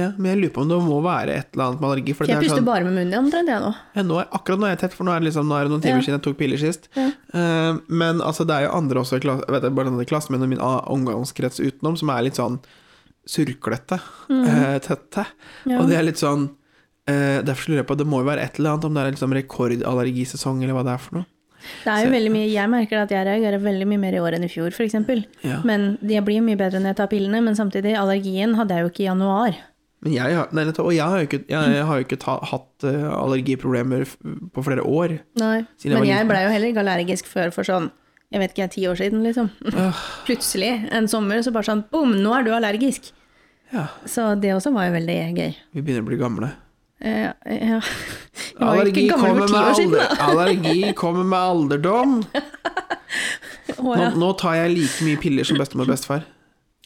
Speaker 1: Ja, men jeg lurer på om det må være et eller annet med allergi. For
Speaker 2: Så
Speaker 1: det
Speaker 2: jeg
Speaker 1: er
Speaker 2: puster
Speaker 1: sånn,
Speaker 2: bare med munnen omtrent, jeg nå.
Speaker 1: ja, nå er, akkurat nå er jeg tett, for nå er det, liksom, nå er det noen timer
Speaker 2: Ja.
Speaker 1: siden jeg tok piller sist.
Speaker 2: Ja.
Speaker 1: Eh, men altså, det er jo andre også i klassen, vet jeg, bare denne klassen min og min a- omgangskrets utenom, som er litt sånn surklete, eh, tette.
Speaker 2: Mm. Ja.
Speaker 1: Og det er litt sånn eh, Derfor lurer jeg på, det må jo være et eller annet, om det er liksom rekordallergisesong eller hva det er for noe.
Speaker 2: Det er jo veldig mye, Jeg merker at jeg reagerer veldig mye mer i år enn i fjor, f.eks.
Speaker 1: Ja.
Speaker 2: Men jeg blir jo mye bedre når jeg tar pillene, men samtidig, allergien hadde jeg jo ikke i januar.
Speaker 1: Men jeg har, nei, nettopp, og jeg har jo ikke, jeg, jeg har jo ikke ta, hatt eh, allergiproblemer f- på flere år.
Speaker 2: Nei.
Speaker 1: Siden jeg var
Speaker 2: Men jeg
Speaker 1: liten.
Speaker 2: blei jo heller ikke allergisk før for sånn jeg vet ikke, ti år siden, liksom. Plutselig en sommer så bare sånn Bom, nå er du allergisk!
Speaker 1: Ja,
Speaker 2: Så det også var jo veldig gøy.
Speaker 1: vi begynner å bli gamle.
Speaker 2: Eh, ja. Jeg var jo ikke gammel for ti år siden, da.
Speaker 1: alder- allergi kommer med alderdom.
Speaker 2: Å,
Speaker 1: Nå,
Speaker 2: ja.
Speaker 1: nå tar jeg like mye piller som bestemor og bestefar.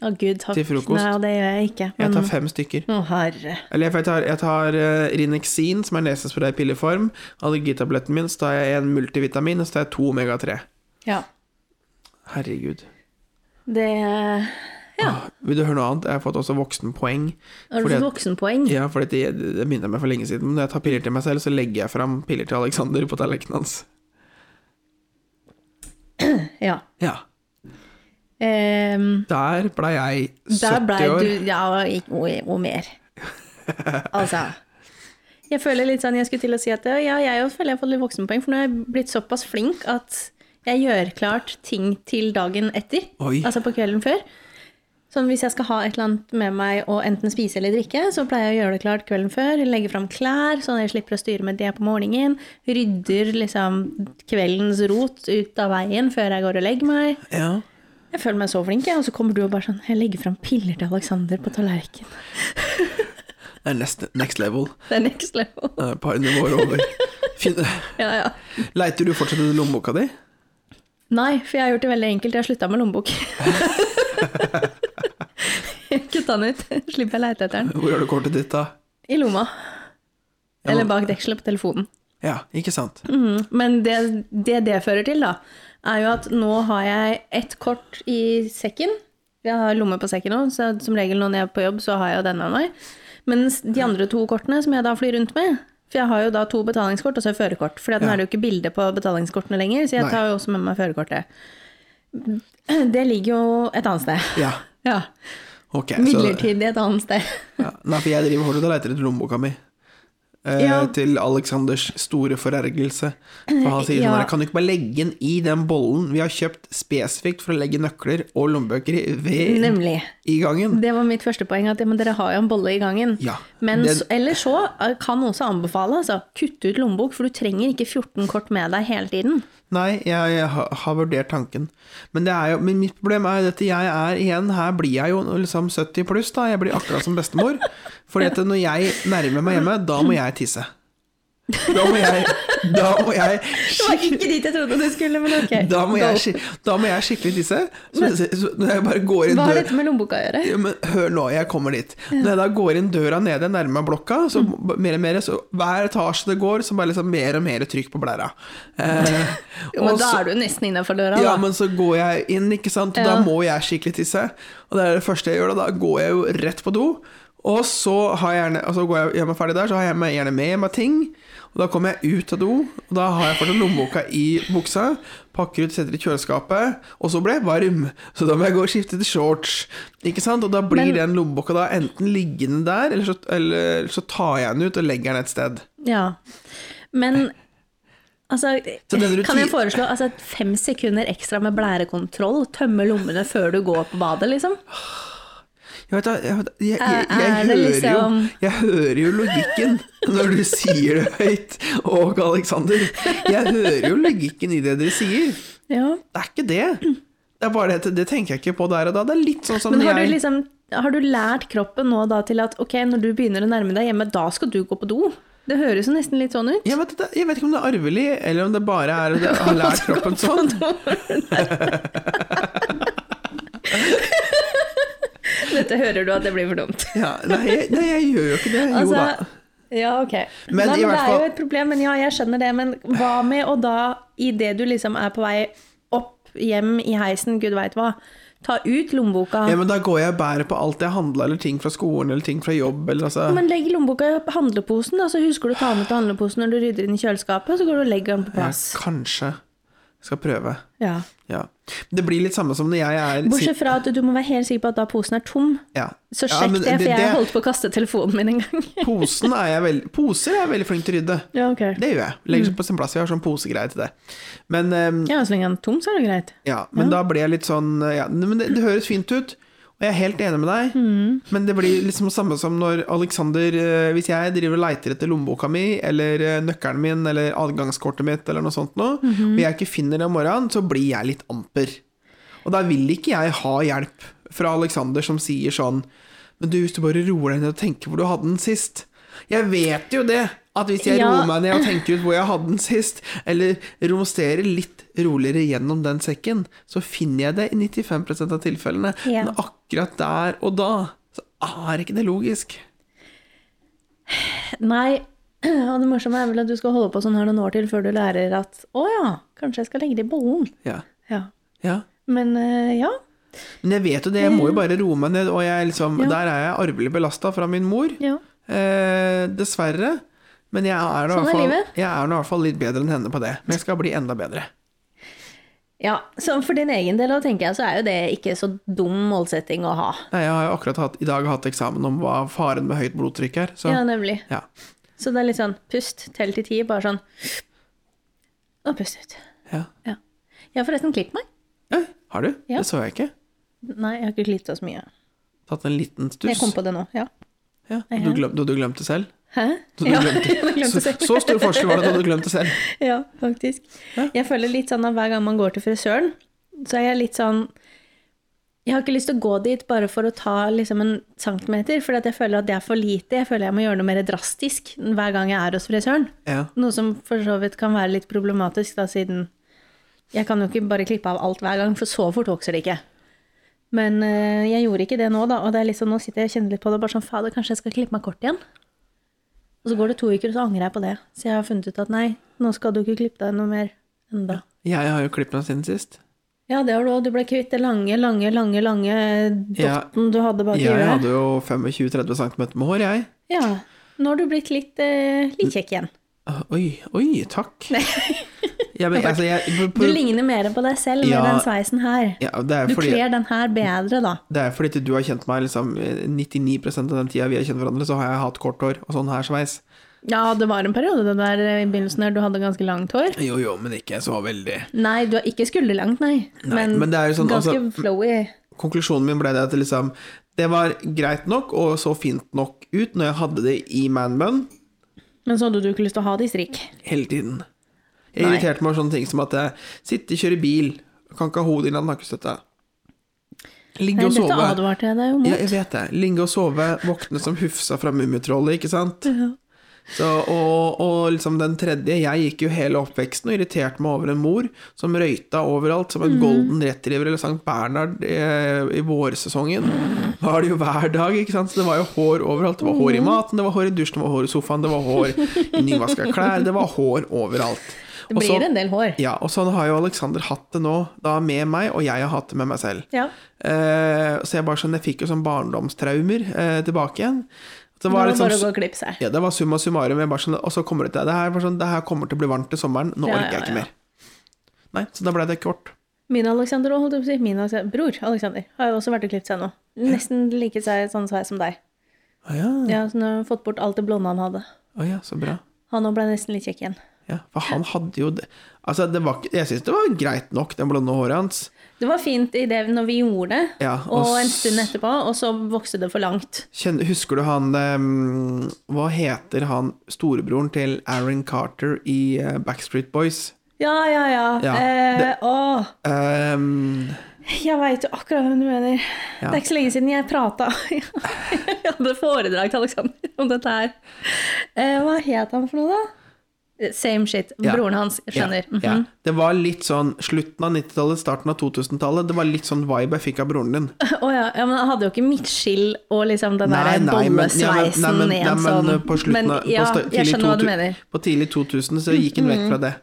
Speaker 2: Å, gud, takk.
Speaker 1: Til frokost.
Speaker 2: Nei, det gjør jeg ikke.
Speaker 1: Jeg
Speaker 2: Men
Speaker 1: tar fem stykker.
Speaker 2: å, herre.
Speaker 1: Eller jeg tar, jeg tar eh, Rinexin, som er nesespray i pilleform. Allergitabletten min, så tar jeg en multivitamin, og så tar jeg to omega-3.
Speaker 2: Ja.
Speaker 1: Herregud.
Speaker 2: Det eh, Ja.
Speaker 1: Åh, Vil du høre noe annet? Jeg har fått også voksenpoeng.
Speaker 2: Har du
Speaker 1: Fordi
Speaker 2: fått
Speaker 1: at-
Speaker 2: voksenpoeng?
Speaker 1: Ja, for det, det begynte jeg med for lenge siden. Men når jeg tar piller til meg selv, så legger jeg fram piller til Alexander på tallerkenen hans.
Speaker 2: Ja.
Speaker 1: Ja.
Speaker 2: Ehm,
Speaker 1: Der blei jeg 70
Speaker 2: Der blei
Speaker 1: år.
Speaker 2: du Ja, ikke- og, og mer. Altså. Jeg føler litt sånn, jeg skulle til å si at ja, jeg også føler jeg har fått litt voksenpoeng, for nå er jeg blitt såpass flink at jeg gjør klart ting til dagen etter.
Speaker 1: Oi.
Speaker 2: Altså på kvelden før. Sånn hvis jeg skal ha et eller annet med meg og enten spise eller drikke, så pleier jeg å gjøre det klart kvelden før. Legge fram klær, sånn at jeg slipper å styre med det på morgenen. Rydder liksom kveldens rot ut av veien før jeg går og legger meg.
Speaker 1: Ja.
Speaker 2: Jeg føler meg så flink, jeg. Og så kommer du og bare sånn Jeg legger fram piller til Alexander på tallerkenen.
Speaker 1: Det er next, next level.
Speaker 2: Det er next level.
Speaker 1: Eh, Et par nivåer over. Fin.
Speaker 2: Ja, ja.
Speaker 1: Leiter du fortsatt i lommeboka di?
Speaker 2: Nei, for jeg har gjort det veldig enkelt. Jeg har slutta med lommebok. Kutta den ut. Slipper jeg leite etter den.
Speaker 1: Hvor har du kortet ditt, da?
Speaker 2: I lomma.
Speaker 1: Ja,
Speaker 2: Eller
Speaker 1: men-
Speaker 2: bak dekselet på telefonen.
Speaker 1: Ja, ikke sant?
Speaker 2: Mhm. Men det, det det fører til, da, er jo at nå har jeg ett kort i sekken. Jeg har lomme på sekken òg, så som regel når jeg er på jobb, så har jeg jo den med meg. Mens de andre to kortene som jeg da flyr rundt med For jeg har jo da to betalingskort og så et førerkort. For nå
Speaker 1: Ja.
Speaker 2: er det jo ikke bilde på betalingskortene lenger, så jeg
Speaker 1: Nei.
Speaker 2: tar jo også med meg førerkortet. Det ligger jo et annet sted.
Speaker 1: Ja,
Speaker 2: Ja.
Speaker 1: ok. så-
Speaker 2: Midlertidig et annet sted.
Speaker 1: Ja. Nei, for jeg driver fortsatt og leter etter lommeboka mi. Eh,
Speaker 2: Ja.
Speaker 1: Til Alexanders store forergelse. For han sier sånn
Speaker 2: Ja.
Speaker 1: her Kan du ikke bare legge den i den bollen vi har kjøpt spesifikt for å legge nøkler og lommebøker i, ved,
Speaker 2: Nemlig.
Speaker 1: i gangen?
Speaker 2: Det var mitt første poeng, at ja, men dere har jo en bolle i gangen.
Speaker 1: Ja,
Speaker 2: men
Speaker 1: det-
Speaker 2: så, eller så eh, kan også anbefale, altså, kutte ut lommebok, for du trenger ikke 14 kort med deg hele tiden.
Speaker 1: Nei, jeg, jeg har, har vurdert tanken. Men, det er jo, men mitt problem er jo dette. Jeg er igjen, her blir jeg jo liksom 70 pluss, da. Jeg blir akkurat som bestemor. Fordi at når jeg nærmer meg hjemme, da må jeg tisse. Da må jeg, da må jeg
Speaker 2: Det var ikke dit jeg trodde du skulle, men ok.
Speaker 1: Da må jeg,
Speaker 2: Go.
Speaker 1: skik- da må jeg skikkelig tisse. Så, så, når jeg bare går inn
Speaker 2: Hva har
Speaker 1: døra
Speaker 2: dette med lommeboka å gjøre?
Speaker 1: ja, men hør nå, jeg kommer dit. Når jeg da går inn døra nede, nærmer meg blokka, så
Speaker 2: Mm.
Speaker 1: b- mer og mer, så hver etasje det går, så bare liksom mer og mer trykk på blæra. Eh,
Speaker 2: Jo, men
Speaker 1: og
Speaker 2: da
Speaker 1: så-
Speaker 2: er du nesten innafor døra,
Speaker 1: ja,
Speaker 2: da.
Speaker 1: men så går jeg inn, ikke sant, og
Speaker 2: Ja.
Speaker 1: da må jeg skikkelig tisse. Og det er det første jeg gjør, da. Da går jeg jo rett på do. Og så, har jeg gjerne, og så går jeg gjør meg ferdig der, så har jeg med, gjerne med meg ting. Og da kommer jeg ut av do, og da har jeg fortsatt lommeboka i buksa. Pakker ut, setter i kjøleskapet, og så blir jeg varm. Så da må jeg gå og skifte til shorts. Ikke sant? Og da blir den
Speaker 2: Men-
Speaker 1: lommeboka da enten liggende der, eller så, eller så tar jeg den ut og legger den et sted.
Speaker 2: Ja. Men altså,
Speaker 1: Så den rutin-
Speaker 2: kan jeg foreslå altså, fem sekunder ekstra med blærekontroll? Tømme lommene før du går på badet, liksom?
Speaker 1: Jeg, vet, da, jeg, vet da, jeg, jeg,
Speaker 2: Er-
Speaker 1: jeg,
Speaker 2: er Eh, det
Speaker 1: hører jo,
Speaker 2: liksom-
Speaker 1: jeg hører jo logikken når du sier det høyt, og Aleksander. Jeg hører jo logikken i det dere sier.
Speaker 2: Ja.
Speaker 1: Det er ikke det. Det er bare det, det tenker jeg ikke på der og da. Det er litt sånn som
Speaker 2: Men har
Speaker 1: jeg
Speaker 2: du, liksom, har du lært kroppen nå da til at ok, når du begynner å nærme deg hjemme, da skal du gå på do? Det høres jo nesten litt sånn ut.
Speaker 1: jeg, vet, ikke- jeg vet ikke om det er arvelig, eller om det bare er at jeg har lært kroppen sånn.
Speaker 2: Dette hører du at det blir for dumt.
Speaker 1: Ja, nei, jeg, nei, jeg gjør jo ikke det. Jo da.
Speaker 2: Altså, ja, ok.
Speaker 1: Men
Speaker 2: Nei,
Speaker 1: i
Speaker 2: men
Speaker 1: hvert
Speaker 2: det
Speaker 1: fall-
Speaker 2: er jo et problem, men ja, jeg skjønner det. Men hva med å da, idet du liksom er på vei opp, hjem i heisen, gud veit hva, ta ut lommeboka?
Speaker 1: Ja, men da går jeg og bærer på alt jeg handla, eller ting fra skolen, eller ting fra jobb, eller altså
Speaker 2: Men legg lommeboka i handleposen, da, så husker du å ta med til handleposen når du rydder inn i kjøleskapet, så går du og legger den på
Speaker 1: ja,
Speaker 2: plass.
Speaker 1: Kanskje. Skal prøve.
Speaker 2: Ja.
Speaker 1: Ja. Det blir litt samme som når jeg er
Speaker 2: Bortsett fra at du må være helt sikker på at da posen er tom.
Speaker 1: Ja.
Speaker 2: Så
Speaker 1: Ja,
Speaker 2: sjekk
Speaker 1: men
Speaker 2: det, for jeg
Speaker 1: det-
Speaker 2: holdt på å kaste telefonen min en gang.
Speaker 1: Posen er jeg veld, poser er jeg veldig flink til å rydde.
Speaker 2: ja, ok.
Speaker 1: Det gjør jeg. Legger
Speaker 2: Mm.
Speaker 1: seg på sin plass. Jeg har sånn posegreie til det. Men, ehm,
Speaker 2: Ja, så lenge den er tom, så er det greit.
Speaker 1: eh, ja, men da ble jeg litt sånn ja, Men det, det høres fint ut. Og jeg er helt enig med deg,
Speaker 2: Mm.
Speaker 1: men det blir liksom samme som når Alexander eh, Hvis jeg driver og leiter etter lommeboka mi, eller eh, nøkkelen min, eller adgangskortet mitt, eller noe sånt noe,
Speaker 2: Mhm.
Speaker 1: og jeg ikke finner det om morgenen, så blir jeg litt amper. Og da vil ikke jeg ha hjelp fra Alexander som sier sånn Men du, hvis du bare roer deg ned og tenker hvor du hadde den sist Jeg vet jo det! At hvis jeg
Speaker 2: Ja.
Speaker 1: roer meg ned og tenker ut hvor jeg hadde den sist, eller romsterer litt roligere gjennom den sekken, så finner jeg det i 95 av tilfellene.
Speaker 2: Ja.
Speaker 1: Men akkurat der og da, så er ikke det logisk.
Speaker 2: Nei, og det morsomme er vel at du skal holde på sånn her noen år til før du lærer at å ja, kanskje jeg skal legge det i bollen.
Speaker 1: Ja.
Speaker 2: Ja.
Speaker 1: ja.
Speaker 2: Men eh, ja.
Speaker 1: Men jeg vet jo det, jeg må jo bare roe meg ned, og jeg liksom,
Speaker 2: Ja.
Speaker 1: der er jeg arvelig belasta fra min mor.
Speaker 2: ja.
Speaker 1: Eh, dessverre. Men jeg er, nå i
Speaker 2: Sånn er
Speaker 1: hvert fall,
Speaker 2: livet.
Speaker 1: jeg er nå i hvert fall litt bedre enn henne på det. Men jeg skal bli enda bedre.
Speaker 2: Ja, så for din egen del da tenker jeg så er jo det ikke så dum målsetting å ha.
Speaker 1: Nei, jeg har jo akkurat hatt, i dag hatt eksamen om hva faren med høyt blodtrykk er. Så
Speaker 2: Ja, nemlig.
Speaker 1: ja.
Speaker 2: Så det er litt sånn pust, tell til ti, bare sånn Og pust ut.
Speaker 1: ja.
Speaker 2: Ja. Jeg har forresten klippet meg.
Speaker 1: ja. Har du?
Speaker 2: Ja.
Speaker 1: Det så jeg ikke.
Speaker 2: Nei, jeg har ikke klippet så mye.
Speaker 1: Tatt en liten
Speaker 2: Jeg
Speaker 1: stuss.
Speaker 2: kom på det nå. Ja.
Speaker 1: Ja. Du, glem, du, du glemte det selv?
Speaker 2: Hæ?
Speaker 1: Du
Speaker 2: Ja,
Speaker 1: glemte-
Speaker 2: jeg
Speaker 1: Så,
Speaker 2: glemte selv.
Speaker 1: så stor forskjell var det da du glemte selv.
Speaker 2: Ja, faktisk. Jeg føler litt sånn at hver gang man går til frisøren, så er jeg litt sånn Jeg har ikke lyst til å gå dit bare for å ta liksom en centimeter, for jeg føler at det er for lite. Jeg føler jeg må gjøre noe mer drastisk hver gang jeg er hos frisøren.
Speaker 1: Ja.
Speaker 2: Noe som for så vidt kan være litt problematisk, da, siden jeg kan jo ikke bare klippe av alt hver gang, for så fort vokser det ikke. Men eh, jeg gjorde ikke det nå, da, og det er litt sånn, nå sitter jeg og kjenner litt på det, bare sånn fader, kanskje jeg skal klippe meg kort igjen? Og så går det to uker, og så angrer jeg på det. Så jeg har funnet ut at nei, nå skal du ikke klippe deg noe mer enda.
Speaker 1: Jeg har jo klippet meg siden sist.
Speaker 2: Ja, det har du òg. Du ble kvitt det lange, lange, lange lange
Speaker 1: Ja.
Speaker 2: dotten du hadde bak i
Speaker 1: Jeg
Speaker 2: øret.
Speaker 1: hadde jo 25-30 cm med hår, jeg.
Speaker 2: Ja. Nå har du blitt litt, eh, litt kjekk igjen.
Speaker 1: Ah, Oi, oi, takk. Jeg, men, altså, jeg, på,
Speaker 2: Du
Speaker 1: på,
Speaker 2: ligner mer på deg selv med
Speaker 1: Ja.
Speaker 2: den sveisen her.
Speaker 1: ja, det er
Speaker 2: Du
Speaker 1: fordi
Speaker 2: kler den her bedre, da.
Speaker 1: Det er fordi du har kjent meg liksom, 99 av den tida vi har kjent hverandre, så har jeg hatt kort hår og sånn her sveis.
Speaker 2: Ja, det var en periode det der eh, i begynnelsen der du hadde ganske langt hår.
Speaker 1: Jo, jo, men ikke så veldig.
Speaker 2: Nei, du har ikke skulderlangt, nei.
Speaker 1: men det er jo sånn,
Speaker 2: ganske
Speaker 1: altså-
Speaker 2: flowy.
Speaker 1: Konklusjonen min ble det at liksom, det var greit nok og så fint nok ut når jeg hadde det i man-bun
Speaker 2: Men så hadde du ikke lyst til å ha det i strikk.
Speaker 1: hele tiden. Jeg
Speaker 2: Nei.
Speaker 1: irriterte meg over sånne ting som at jeg sitter, kjører bil, kan ikke ha hodet innan nakkestøtte. Ligge
Speaker 2: Nei,
Speaker 1: og
Speaker 2: dette
Speaker 1: sove.
Speaker 2: advarte jeg deg jo mot.
Speaker 1: Ja, jeg vet det. Ligge og sove, våkne som Hufsa fra Mummitrollet, ikke sant? Så, og, og liksom den tredje, jeg gikk jo hele oppveksten og irriterte meg over en mor som røyta overalt, som en
Speaker 2: Mhm.
Speaker 1: golden retriever eller Sankt Bernhard eh, i vårsesongen. Var det jo hver dag, ikke sant? Så det var jo hår overalt. Det var hår i
Speaker 2: Mhm.
Speaker 1: maten, det var hår i dusjen, det var hår i sofaen, det var hår i nyvaska klær, det var hår overalt.
Speaker 2: Det
Speaker 1: Og så-
Speaker 2: blir en del hår.
Speaker 1: ja, og sånn har jo Alexander hatt det nå, da med meg, og jeg har hatt det med meg selv.
Speaker 2: Ja.
Speaker 1: Eh, så jeg bare sånn, jeg fikk jo sånn barndomstraumer eh, tilbake igjen. Så det
Speaker 2: Det
Speaker 1: var
Speaker 2: var
Speaker 1: litt sånn,
Speaker 2: bare å gå og klippe seg.
Speaker 1: ja, det var summa summarum, jeg bare sånn, og så kommer det til det her, var sånn, det her kommer til å bli varmt til sommeren, nå
Speaker 2: Ja,
Speaker 1: orker jeg
Speaker 2: ja,
Speaker 1: ikke
Speaker 2: ja.
Speaker 1: mer. Nei, så da ble det kort.
Speaker 2: Min Alexander også, holdt jeg på å si. Min Alexander. Bror Alexander har jo også vært og klippet seg nå. Nesten like seg sånn sveis som deg.
Speaker 1: Å ja,
Speaker 2: Ja, så nå har han fått bort alt det blonde han hadde.
Speaker 1: å ja, så bra.
Speaker 2: Han òg ble nesten litt kjekk igjen.
Speaker 1: Ja, for han hadde jo det. Altså, det var, ikke- jeg synes det var greit nok, den blonde håret hans.
Speaker 2: Det var fint i det når vi gjorde det,
Speaker 1: Ja,
Speaker 2: og,
Speaker 1: og
Speaker 2: en stund etterpå, og så vokste det for langt.
Speaker 1: Kjenner, husker du han, eh, hva heter han, storebroren til Aaron Carter i eh, Backstreet Boys?
Speaker 2: Ja, ja, ja.
Speaker 1: Ja,
Speaker 2: eh, Åh,
Speaker 1: Ehm,
Speaker 2: jeg veit jo akkurat hvem du mener.
Speaker 1: Ja.
Speaker 2: Det er ikke så lenge siden jeg prata Jeg hadde foredrag til Alexander om dette her. Eh, hva het han for noe, da? Same shit.
Speaker 1: Ja.
Speaker 2: Broren hans. jeg Skjønner. Mhm.
Speaker 1: Ja, ja. Det var litt sånn slutten av 90-tallet, starten av 2000-tallet. Det var litt sånn vibe jeg fikk av broren din.
Speaker 2: Mhm. Å ja. ja, men han hadde jo ikke midtskill og liksom den der bollesveisen i en sånn
Speaker 1: eh, på slutten av
Speaker 2: Men ja,
Speaker 1: på sta-
Speaker 2: jeg
Speaker 1: tidlig
Speaker 2: skjønner hva du
Speaker 1: 2000
Speaker 2: mener.
Speaker 1: På tidlig 2000 så gikk han vekk fra det.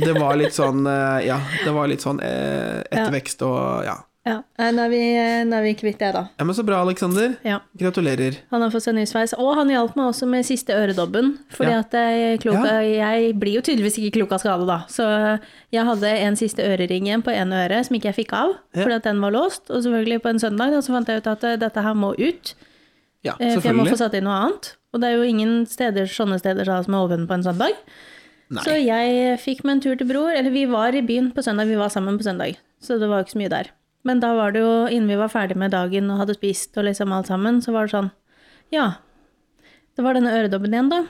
Speaker 1: Det var litt sånn eh, Ja, det var litt sånn eh, ettervekst og ja.
Speaker 2: Ja. Eh, Nå er vi, nå er vi kvitt det, da.
Speaker 1: ja. Men så bra, Aleksander.
Speaker 2: Ja.
Speaker 1: Gratulerer.
Speaker 2: Han har fått seg ny sveis, og han hjalp meg også med siste øredobben. Fordi
Speaker 1: Ja.
Speaker 2: at jeg, er klok,
Speaker 1: Ja.
Speaker 2: jeg blir jo tydeligvis ikke klok av skade, da. Så jeg hadde en siste ørering igjen på en øre som ikke jeg fikk av,
Speaker 1: Ja.
Speaker 2: fordi at den var låst. Og selvfølgelig på en søndag da, så fant jeg ut at eh, dette her må ut,
Speaker 1: Ja,
Speaker 2: eh, for jeg må få
Speaker 1: selvfølgelig.
Speaker 2: satt inn noe annet. Og det er jo ingen steder, sånne steder da, som er åpne på en søndag. Så
Speaker 1: Nei.
Speaker 2: jeg fikk meg en tur til Bror, eller vi var i byen på søndag, vi var sammen på søndag. Så det var ikke så mye der. Men da var det jo, innen vi var ferdig med dagen og hadde spist og liksom alt sammen, så var det sånn Ja. Det var denne øredobben igjen, da.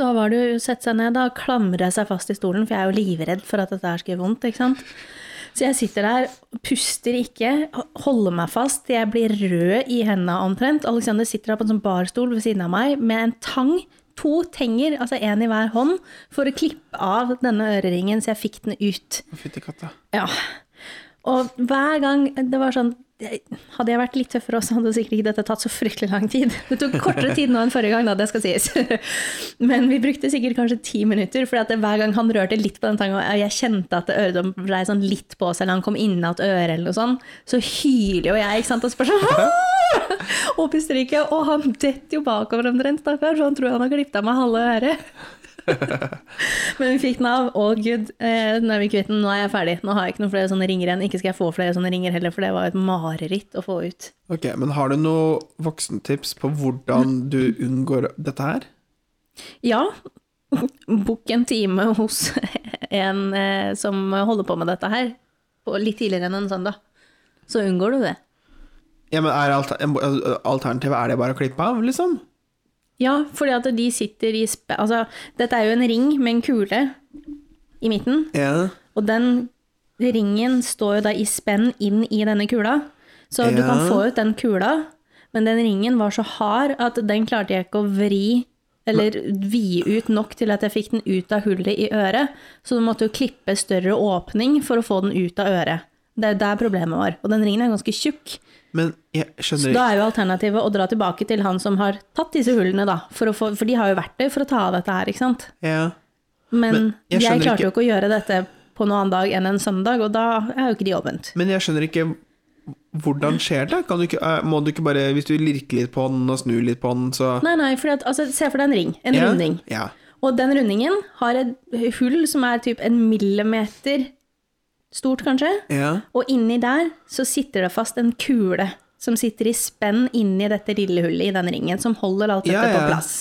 Speaker 2: Da var det jo å sette seg ned, da. Klamre seg fast i stolen, for jeg er jo livredd for at dette her skal gjøre vondt, ikke sant. Så jeg sitter der, puster ikke, holder meg fast. Jeg blir rød i hendene omtrent. Alexander sitter der på en sånn barstol ved siden av meg med en tang. To tenger, altså én i hver hånd, for å klippe av denne øreringen, så jeg fikk den ut.
Speaker 1: Fytti katta.
Speaker 2: Ja. Og hver gang det var sånn Hadde jeg vært litt tøffere også, hadde sikkert ikke dette tatt så fryktelig lang tid. Det tok kortere tid nå enn forrige gang, da, det skal sies. Men vi brukte sikkert kanskje ti minutter, for hver gang han rørte litt på den tanga, og jeg kjente at øret blei sånn litt på seg, eller han kom innat øret eller noe sånt, så hyler jo jeg, ikke sant, og spør sånn «Aah!» Og puster ikke, og han detter jo bakover omtrent, stakkar, for han tror han har klippet av meg halve øret. Men vi fikk den av. All good. Eh, nå er vi kvitt den. Nå er jeg ferdig. Nå har jeg ikke noen flere sånne ringer igjen. Ikke skal jeg få flere sånne ringer heller, for det var et mareritt å få ut.
Speaker 1: Ok, men har du noe voksentips på hvordan du unngår dette her?
Speaker 2: Ja, bukk en time hos en eh, som holder på med dette her, på litt tidligere enn en søndag. Så unngår du det.
Speaker 1: Ja, men er alter alternativet er det bare å klippe av, liksom?
Speaker 2: Ja, fordi at de sitter i spe... Altså, dette er jo en ring med en kule i midten.
Speaker 1: Ja.
Speaker 2: Og den ringen står jo da i spenn inn i denne kula, så du
Speaker 1: Ja.
Speaker 2: kan få ut den kula, men den ringen var så hard at den klarte jeg ikke å vri eller vide ut nok til at jeg fikk den ut av hullet i øret, så du måtte jo klippe større åpning for å få den ut av øret. Det er der problemet var. Og den ringen er ganske tjukk.
Speaker 1: Men jeg skjønner
Speaker 2: Da er jo alternativet å dra tilbake til han som har tatt disse hullene, da. For, å få, for de har jo verktøy for å ta av dette her, ikke sant.
Speaker 1: Ja.
Speaker 2: Men,
Speaker 1: Men jeg
Speaker 2: jeg,
Speaker 1: skjønner
Speaker 2: klarte
Speaker 1: ikke-
Speaker 2: jo ikke å gjøre dette på noen annen dag enn en søndag, og da er jo ikke de åpent.
Speaker 1: Men jeg skjønner ikke hvordan skjer det? Kan du ikke, eh, må du ikke bare, hvis du lirker litt på den og snur litt på den, så
Speaker 2: Nei, nei, for at, altså, se for deg en ring, en
Speaker 1: ja.
Speaker 2: runding.
Speaker 1: Ja.
Speaker 2: Og den rundingen har et hull som er typ en millimeter stort, kanskje.
Speaker 1: ja.
Speaker 2: Og inni der så sitter det fast en kule som sitter i spenn inni dette lille hullet i den ringen, som holder alt dette
Speaker 1: Ja, ja.
Speaker 2: på plass.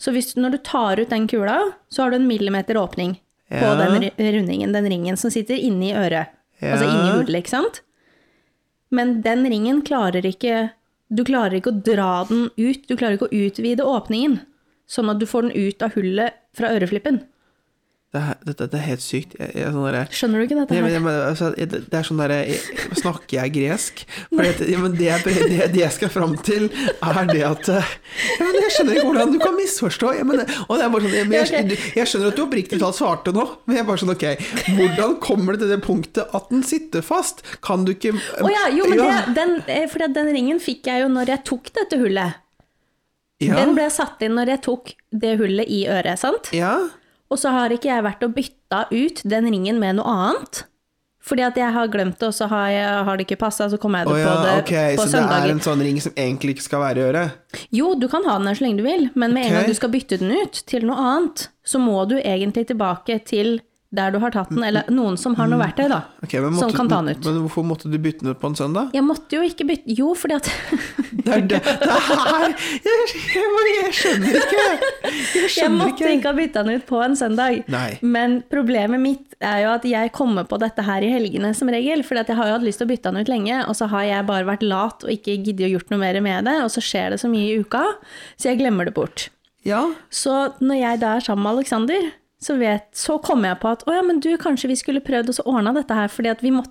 Speaker 2: Så hvis, når du tar ut den kula, så har du en millimeter åpning på
Speaker 1: Ja.
Speaker 2: den ri- rundingen, den ringen som sitter inni øret. Altså
Speaker 1: Ja.
Speaker 2: inni hullet, ikke sant? Men den ringen klarer ikke Du klarer ikke å dra den ut. Du klarer ikke å utvide åpningen, sånn at du får den ut av hullet fra øreflippen.
Speaker 1: Det, er- dette det er helt sykt. Jeg, jeg, er sånn derre-
Speaker 2: Skjønner du ikke dette
Speaker 1: Nei, men,
Speaker 2: her?
Speaker 1: jeg, mener, altså, jeg- det det er sånn derre jeg- Snakker jeg gresk? For det, ja, men det, jeg prøver- det, det jeg skal fram til, er det at eh, ja, men Jeg skjønner ikke hvordan du kan misforstå. Jeg, mener, og det er bare sånn, jeg, men jeg,
Speaker 2: Ja,
Speaker 1: jeg, skjønner at du oppriktig talt svarte nå, men jeg er bare sånn Ok, hvordan kommer det til det punktet at den sitter fast? Kan du ikke
Speaker 2: Å ja, jo, men det, den, eh, fordi at den ringen fikk jeg jo når jeg tok dette hullet.
Speaker 1: ja,
Speaker 2: Den ble satt inn når jeg tok det hullet i øret, sant?
Speaker 1: ja,
Speaker 2: Og så har ikke jeg vært og bytta ut den ringen med noe annet. Fordi at jeg har glemt det, og så har, jeg, har det ikke passa, så kommer jeg
Speaker 1: Å
Speaker 2: det
Speaker 1: ja,
Speaker 2: på det
Speaker 1: ok,
Speaker 2: på
Speaker 1: så det er
Speaker 2: søndager.
Speaker 1: en sånn ring som egentlig ikke skal være i øret?
Speaker 2: Jo, du kan ha den her så lenge du vil, men med en
Speaker 1: Ok.
Speaker 2: gang du skal bytte den ut til noe annet, så må du egentlig tilbake til der du har tatt den, eller noen som har noe verktøy, da.
Speaker 1: Mm. Ok, men
Speaker 2: som
Speaker 1: måtte-
Speaker 2: kan ta den ut.
Speaker 1: Men hvorfor måtte du bytte den ut på en søndag?
Speaker 2: Jeg måtte jo ikke bytte Jo, fordi at
Speaker 1: Det er det, det er her jeg, jeg, bare- jeg skjønner ikke. Jeg
Speaker 2: Jeg
Speaker 1: skjønner
Speaker 2: måtte
Speaker 1: ikke.
Speaker 2: ikke ha bytta den ut på en søndag.
Speaker 1: Nei.
Speaker 2: Men problemet mitt er jo at jeg kommer på dette her i helgene som regel. For jeg har jo hatt lyst til å bytte den ut lenge, og så har jeg bare vært lat og ikke giddet å gjort noe mer med det. Og så skjer det så mye i uka, så jeg glemmer det bort.
Speaker 1: Ja,
Speaker 2: Så når jeg da er sammen med Aleksander, så, vet- så kommer jeg på at å ja, men du, kanskje vi skulle prøvd oss å ordne dette her, fordi at vi måtte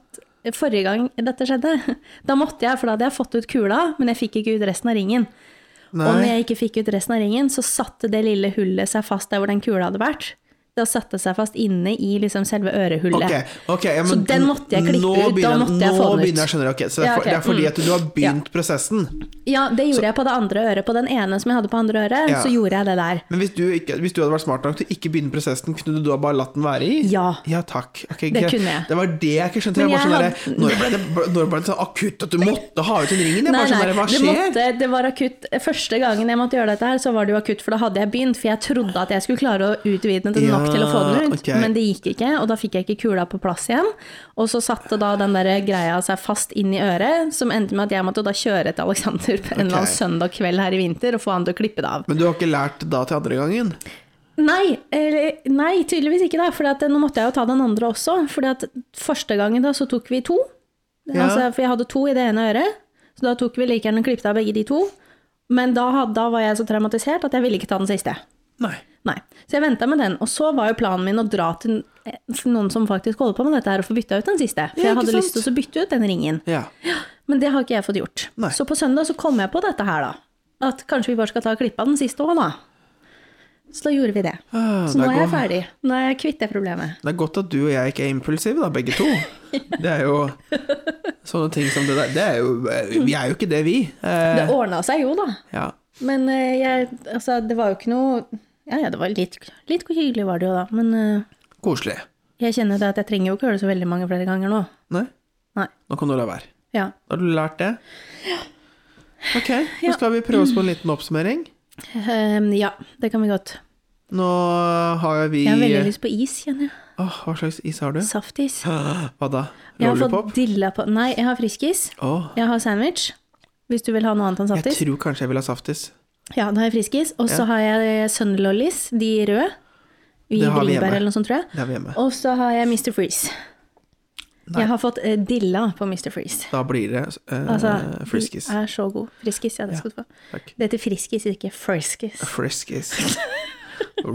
Speaker 2: Forrige gang dette skjedde, da måtte jeg, for da hadde jeg fått ut kula, men jeg fikk ikke ut resten av ringen. Og når
Speaker 1: nei.
Speaker 2: jeg ikke fikk ut resten av ringen, så satte det lille hullet seg fast der hvor den kula hadde vært. Det satte seg fast inne i liksom selve ørehullet.
Speaker 1: Ok, ok, ja, men
Speaker 2: Så den måtte jeg klippe
Speaker 1: nå
Speaker 2: ut, da
Speaker 1: begynner-
Speaker 2: måtte jeg
Speaker 1: Nå
Speaker 2: få den ut.
Speaker 1: begynner jeg å skjønne, ok. Så det er, for,
Speaker 2: Ja, ok,
Speaker 1: det er fordi
Speaker 2: mm.
Speaker 1: at du har begynt prosessen.
Speaker 2: Ja, det gjorde jeg på det andre øret. På den ene som jeg hadde på andre øret,
Speaker 1: Ja.
Speaker 2: så gjorde jeg det der.
Speaker 1: Men hvis du, ikke, hvis du hadde vært smart nok til å ikke begynne prosessen, kunne du da bare latt den være i?
Speaker 2: Ja.
Speaker 1: Ja, takk. Ok,
Speaker 2: Det
Speaker 1: ok.
Speaker 2: kunne jeg.
Speaker 1: Det var det jeg ikke skjønte. Jeg
Speaker 2: Men
Speaker 1: var sånn
Speaker 2: jeg
Speaker 1: derre, når ble det når ble det sånn akutt at du måtte ha ut den ringen? Jeg bare sånn derre, hva
Speaker 2: det,
Speaker 1: skjer?
Speaker 2: måtte, det var akutt. Første gangen jeg måtte gjøre dette her, så var det jo akutt, for da hadde jeg begynt. For jeg trodde at jeg skulle klare å utvide den nok
Speaker 1: Ja,
Speaker 2: til å få den ut,
Speaker 1: ok.
Speaker 2: men det gikk ikke. Og da fikk jeg ikke kula på plass igjen. Og så satte da den der greia seg fast inn i øret, som endte med at jeg måtte da kjøre til Alexander på en eller
Speaker 1: Ok.
Speaker 2: annen søndag kveld her i vinter og få han til å klippe det av.
Speaker 1: Men du har ikke lært da til andre gangen?
Speaker 2: Nei, eller, nei, eh, tydeligvis ikke, da. For nå måtte jeg jo ta den andre også. For første gangen da så tok vi to.
Speaker 1: Ja.
Speaker 2: Altså, for jeg hadde to i det ene øret, så da tok vi like gjerne og klippet av begge de to. Men da, had- da var jeg så traumatisert at jeg ville ikke ta den siste.
Speaker 1: Nei.
Speaker 2: Nei. Så jeg venta med den. Og så var jo planen min å dra til eh, noen som faktisk holder på med dette her, og få bytta ut den siste. For
Speaker 1: Ja,
Speaker 2: jeg
Speaker 1: ikke
Speaker 2: hadde
Speaker 1: sant?
Speaker 2: lyst til å bytte ut den ringen.
Speaker 1: Ja.
Speaker 2: Men det har ikke jeg fått gjort.
Speaker 1: Nei.
Speaker 2: Så på søndag så kom jeg på dette her, da. At kanskje vi bare skal ta og klippe av den siste òg, da. Så da gjorde vi det.
Speaker 1: Ah,
Speaker 2: så nå
Speaker 1: det
Speaker 2: er jeg
Speaker 1: går.
Speaker 2: ferdig. Nå er jeg kvitt det problemet.
Speaker 1: Det er godt at du og jeg ikke er impulsive, da, begge to. Det er jo sånne ting som det der det er jo, Vi er jo ikke det, vi. Eh,
Speaker 2: Det ordna seg jo, da.
Speaker 1: ja.
Speaker 2: Men eh, jeg Altså, det var jo ikke noe Ja, ja, det var litt, litt hyggelig var det jo, da. Men eh,
Speaker 1: Koselig.
Speaker 2: jeg kjenner jo det at jeg trenger jo ikke gjøre det så veldig mange flere ganger nå.
Speaker 1: Nei?
Speaker 2: Nei.
Speaker 1: Nå kan du la være.
Speaker 2: Ja.
Speaker 1: Har du lært det? Ok, nå skal vi prøve oss på en liten oppsummering.
Speaker 2: Ehm, ja, det kan vi godt.
Speaker 1: Nå har vi
Speaker 2: Jeg har veldig
Speaker 1: Åh,
Speaker 2: lyst på is, kjenner jeg.
Speaker 1: Hva slags is har du?
Speaker 2: Saftis.
Speaker 1: Hva da?
Speaker 2: Jeg har
Speaker 1: Lollipop?
Speaker 2: fått dilla på Nei, jeg har friskis.
Speaker 1: Åh,
Speaker 2: Jeg har sandwich. Hvis du vil ha noe annet enn
Speaker 1: jeg
Speaker 2: saftis.
Speaker 1: tror kanskje jeg vil ha saftis.
Speaker 2: Ja, da har jeg friskis. Og så
Speaker 1: Ja.
Speaker 2: har jeg Sunlollies, de røde. I
Speaker 1: Det har vi hjemme.
Speaker 2: bringebær eller noe sånt, tror jeg.
Speaker 1: Det har vi hjemme.
Speaker 2: Og så har jeg Mr. Freeze.
Speaker 1: Nei.
Speaker 2: Jeg har fått eh, dilla på Mr. Freeze.
Speaker 1: Da blir det eh,
Speaker 2: Altså,
Speaker 1: friskis.
Speaker 2: De er så god. Friskis, ja, det skal du få.
Speaker 1: Takk.
Speaker 2: Det heter friskis, ikke friskis.
Speaker 1: Friskis.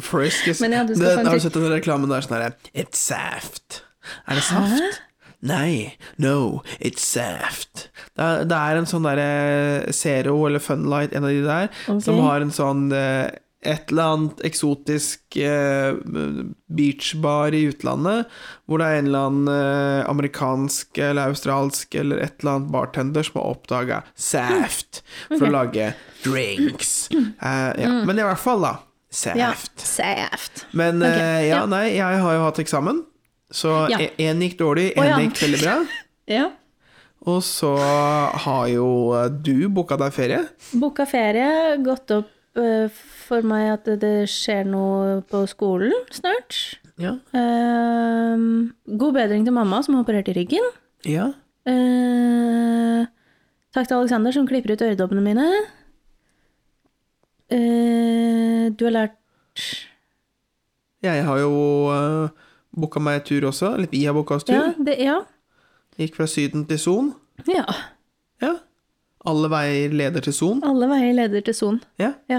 Speaker 1: Friskis.
Speaker 2: Men ja, du skal
Speaker 1: det,
Speaker 2: få en
Speaker 1: har du
Speaker 2: til.
Speaker 1: sett den reklamen der sånn herre It's saft. Er det saft? Nei. No, it's saft. Det er, det er en sånn derre Zero eller Funlight, en av de der, som
Speaker 2: Ok.
Speaker 1: har en sånn eh, et eller annet eksotisk eh, beachbar i utlandet, hvor det er en eller annen eh, amerikansk eller australsk eller et eller annet bartender som har oppdaga saft for å lage drinks. Eh, ja. Men i hvert fall, da. Saft.
Speaker 2: Mm. Ja. Saft.
Speaker 1: Men
Speaker 2: Ok,
Speaker 1: eh, ja,
Speaker 2: ja.
Speaker 1: nei, jeg har jo hatt eksamen. Så
Speaker 2: Ja.
Speaker 1: én gikk dårlig, én
Speaker 2: Å, ja.
Speaker 1: gikk veldig bra.
Speaker 2: Ja.
Speaker 1: Og så har jo eh, du booka deg ferie.
Speaker 2: Boka ferie, gått opp eh, for meg at det skjer noe på skolen snart.
Speaker 1: Ja.
Speaker 2: Ehm, god bedring til mamma som har operert i ryggen.
Speaker 1: ja.
Speaker 2: Eh, takk til Alexander som klipper ut øredobbene mine. Eh, du har lært
Speaker 1: Jeg har jo uh, booka meg tur også. Eller vi har booka oss tur.
Speaker 2: ja, det, ja.
Speaker 1: Gikk fra Syden til Son.
Speaker 2: ja.
Speaker 1: Ja. Alle veier leder til Son.
Speaker 2: Alle veier leder til Son.
Speaker 1: Ja.
Speaker 2: Ja.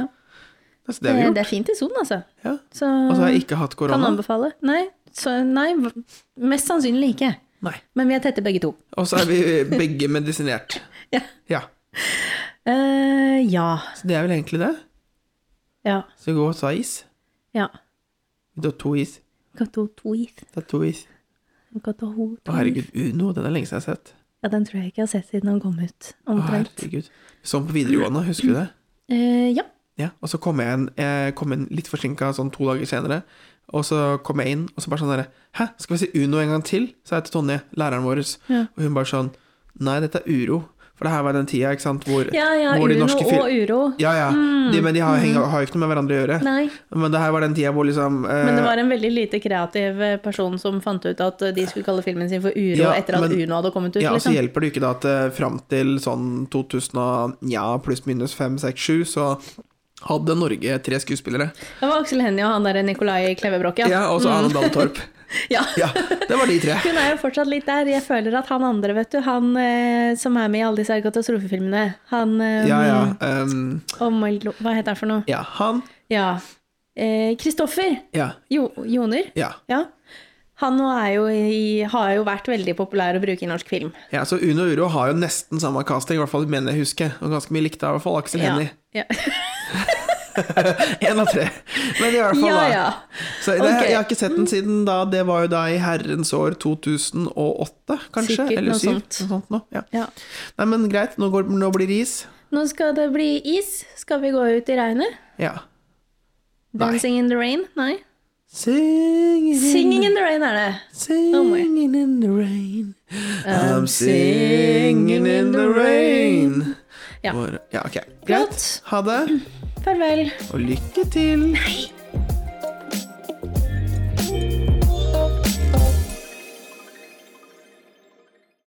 Speaker 1: Altså, det
Speaker 2: Det,
Speaker 1: har vi gjort.
Speaker 2: det er fint i Son, altså.
Speaker 1: Ja.
Speaker 2: Så
Speaker 1: Og så har jeg ikke hatt
Speaker 2: kan
Speaker 1: korona.
Speaker 2: anbefale. Nei, så, nei, v- mest sannsynlig ikke.
Speaker 1: Nei.
Speaker 2: Men vi er tette begge to.
Speaker 1: Og så er vi begge medisinert.
Speaker 2: Ja.
Speaker 1: Ja.
Speaker 2: Eh, ja.
Speaker 1: Så det er vel egentlig det.
Speaker 2: Ja.
Speaker 1: Så gå og ta is.
Speaker 2: ja.
Speaker 1: Du har to is.
Speaker 2: Gato Tweeth.
Speaker 1: Ta to is.
Speaker 2: Gato Ho
Speaker 1: Å, herregud, Uno, den er lenge siden jeg har sett.
Speaker 2: Ja, den tror jeg ikke jeg har sett siden han kom ut.
Speaker 1: Å,
Speaker 2: Omtrent.
Speaker 1: herregud. Sånn på videregående, husker du det?
Speaker 2: Eh, ja.
Speaker 1: Ja, og så kom jeg inn, jeg kom inn litt forsinka sånn to dager senere, og så kom jeg inn, og så bare sånn derre Hæ, skal vi se Uno en gang til? sa jeg til Tonje, læreren vår,
Speaker 2: Ja.
Speaker 1: og hun bare sånn Nei, dette er uro. For det her var den tida, ikke sant, hvor,
Speaker 2: Ja, ja,
Speaker 1: hvor de
Speaker 2: Uno
Speaker 1: norske fil-
Speaker 2: og Uro.
Speaker 1: Ja, ja. De, men de har, henger, har jo ikke noe med hverandre å gjøre.
Speaker 2: Mm. Nei.
Speaker 1: Men det her var den tida hvor liksom eh,
Speaker 2: Men det var en veldig lite kreativ eh, person som fant ut at eh, de skulle kalle filmen sin for Uro
Speaker 1: Ja,
Speaker 2: etter at
Speaker 1: men-
Speaker 2: Uno hadde kommet ut.
Speaker 1: Ja, altså, og så
Speaker 2: liksom.
Speaker 1: hjelper det jo ikke da at eh, fram til sånn 2000 og, ja, pluss minus 5, 6, 7, så hadde Norge tre skuespillere.
Speaker 2: Det var Aksel Hennie og han der Nikolai Klevebrok,
Speaker 1: Ja,
Speaker 2: ja. Mm.
Speaker 1: og så Anne Dahl Torp.
Speaker 2: ja.
Speaker 1: Ja, det var de tre.
Speaker 2: Hun er jo fortsatt litt der. Jeg føler at han andre, vet du, han eh, som er med i alle disse her katastrofefilmene, han eh,
Speaker 1: Ja, ja. ehm,
Speaker 2: oh my lo- Hva heter han for noe?
Speaker 1: ja, han.
Speaker 2: Ja. Eh, Kristoffer
Speaker 1: Ja,
Speaker 2: jo, Joner.
Speaker 1: ja.
Speaker 2: Ja. Han nå er jo i, har jo vært veldig populær å bruke i norsk film.
Speaker 1: ja. Så Uno og Uro har jo nesten samme casting, i hvert fall mener jeg husker. Og ganske mye likte i hvert fall Aksel
Speaker 2: Ja.
Speaker 1: Hennie.
Speaker 2: Ja.
Speaker 1: Én av tre. Men i hvert fall,
Speaker 2: ja,
Speaker 1: da.
Speaker 2: ja.
Speaker 1: Så det,
Speaker 2: Ok.
Speaker 1: Jeg har ikke sett den siden da. Det var jo da i herrens år 2008, kanskje?
Speaker 2: Sikkert
Speaker 1: eller
Speaker 2: noe
Speaker 1: syv,
Speaker 2: sånt.
Speaker 1: Noe sånt nå, ja.
Speaker 2: ja.
Speaker 1: Nei, men greit. Nå, går, nå blir det is.
Speaker 2: Nå skal det bli is. Skal vi gå ut i regnet?
Speaker 1: Ja. Nei.
Speaker 2: Dancing in the rain? Nei.
Speaker 1: Singing,
Speaker 2: Singing in the rain er det.
Speaker 1: singing in the rain. I'm singing in the rain.
Speaker 2: Ja.
Speaker 1: Hvor- ja ok. Greit.
Speaker 2: Flott.
Speaker 1: Ha det,
Speaker 2: Farvel.
Speaker 1: og lykke til.
Speaker 2: Nei.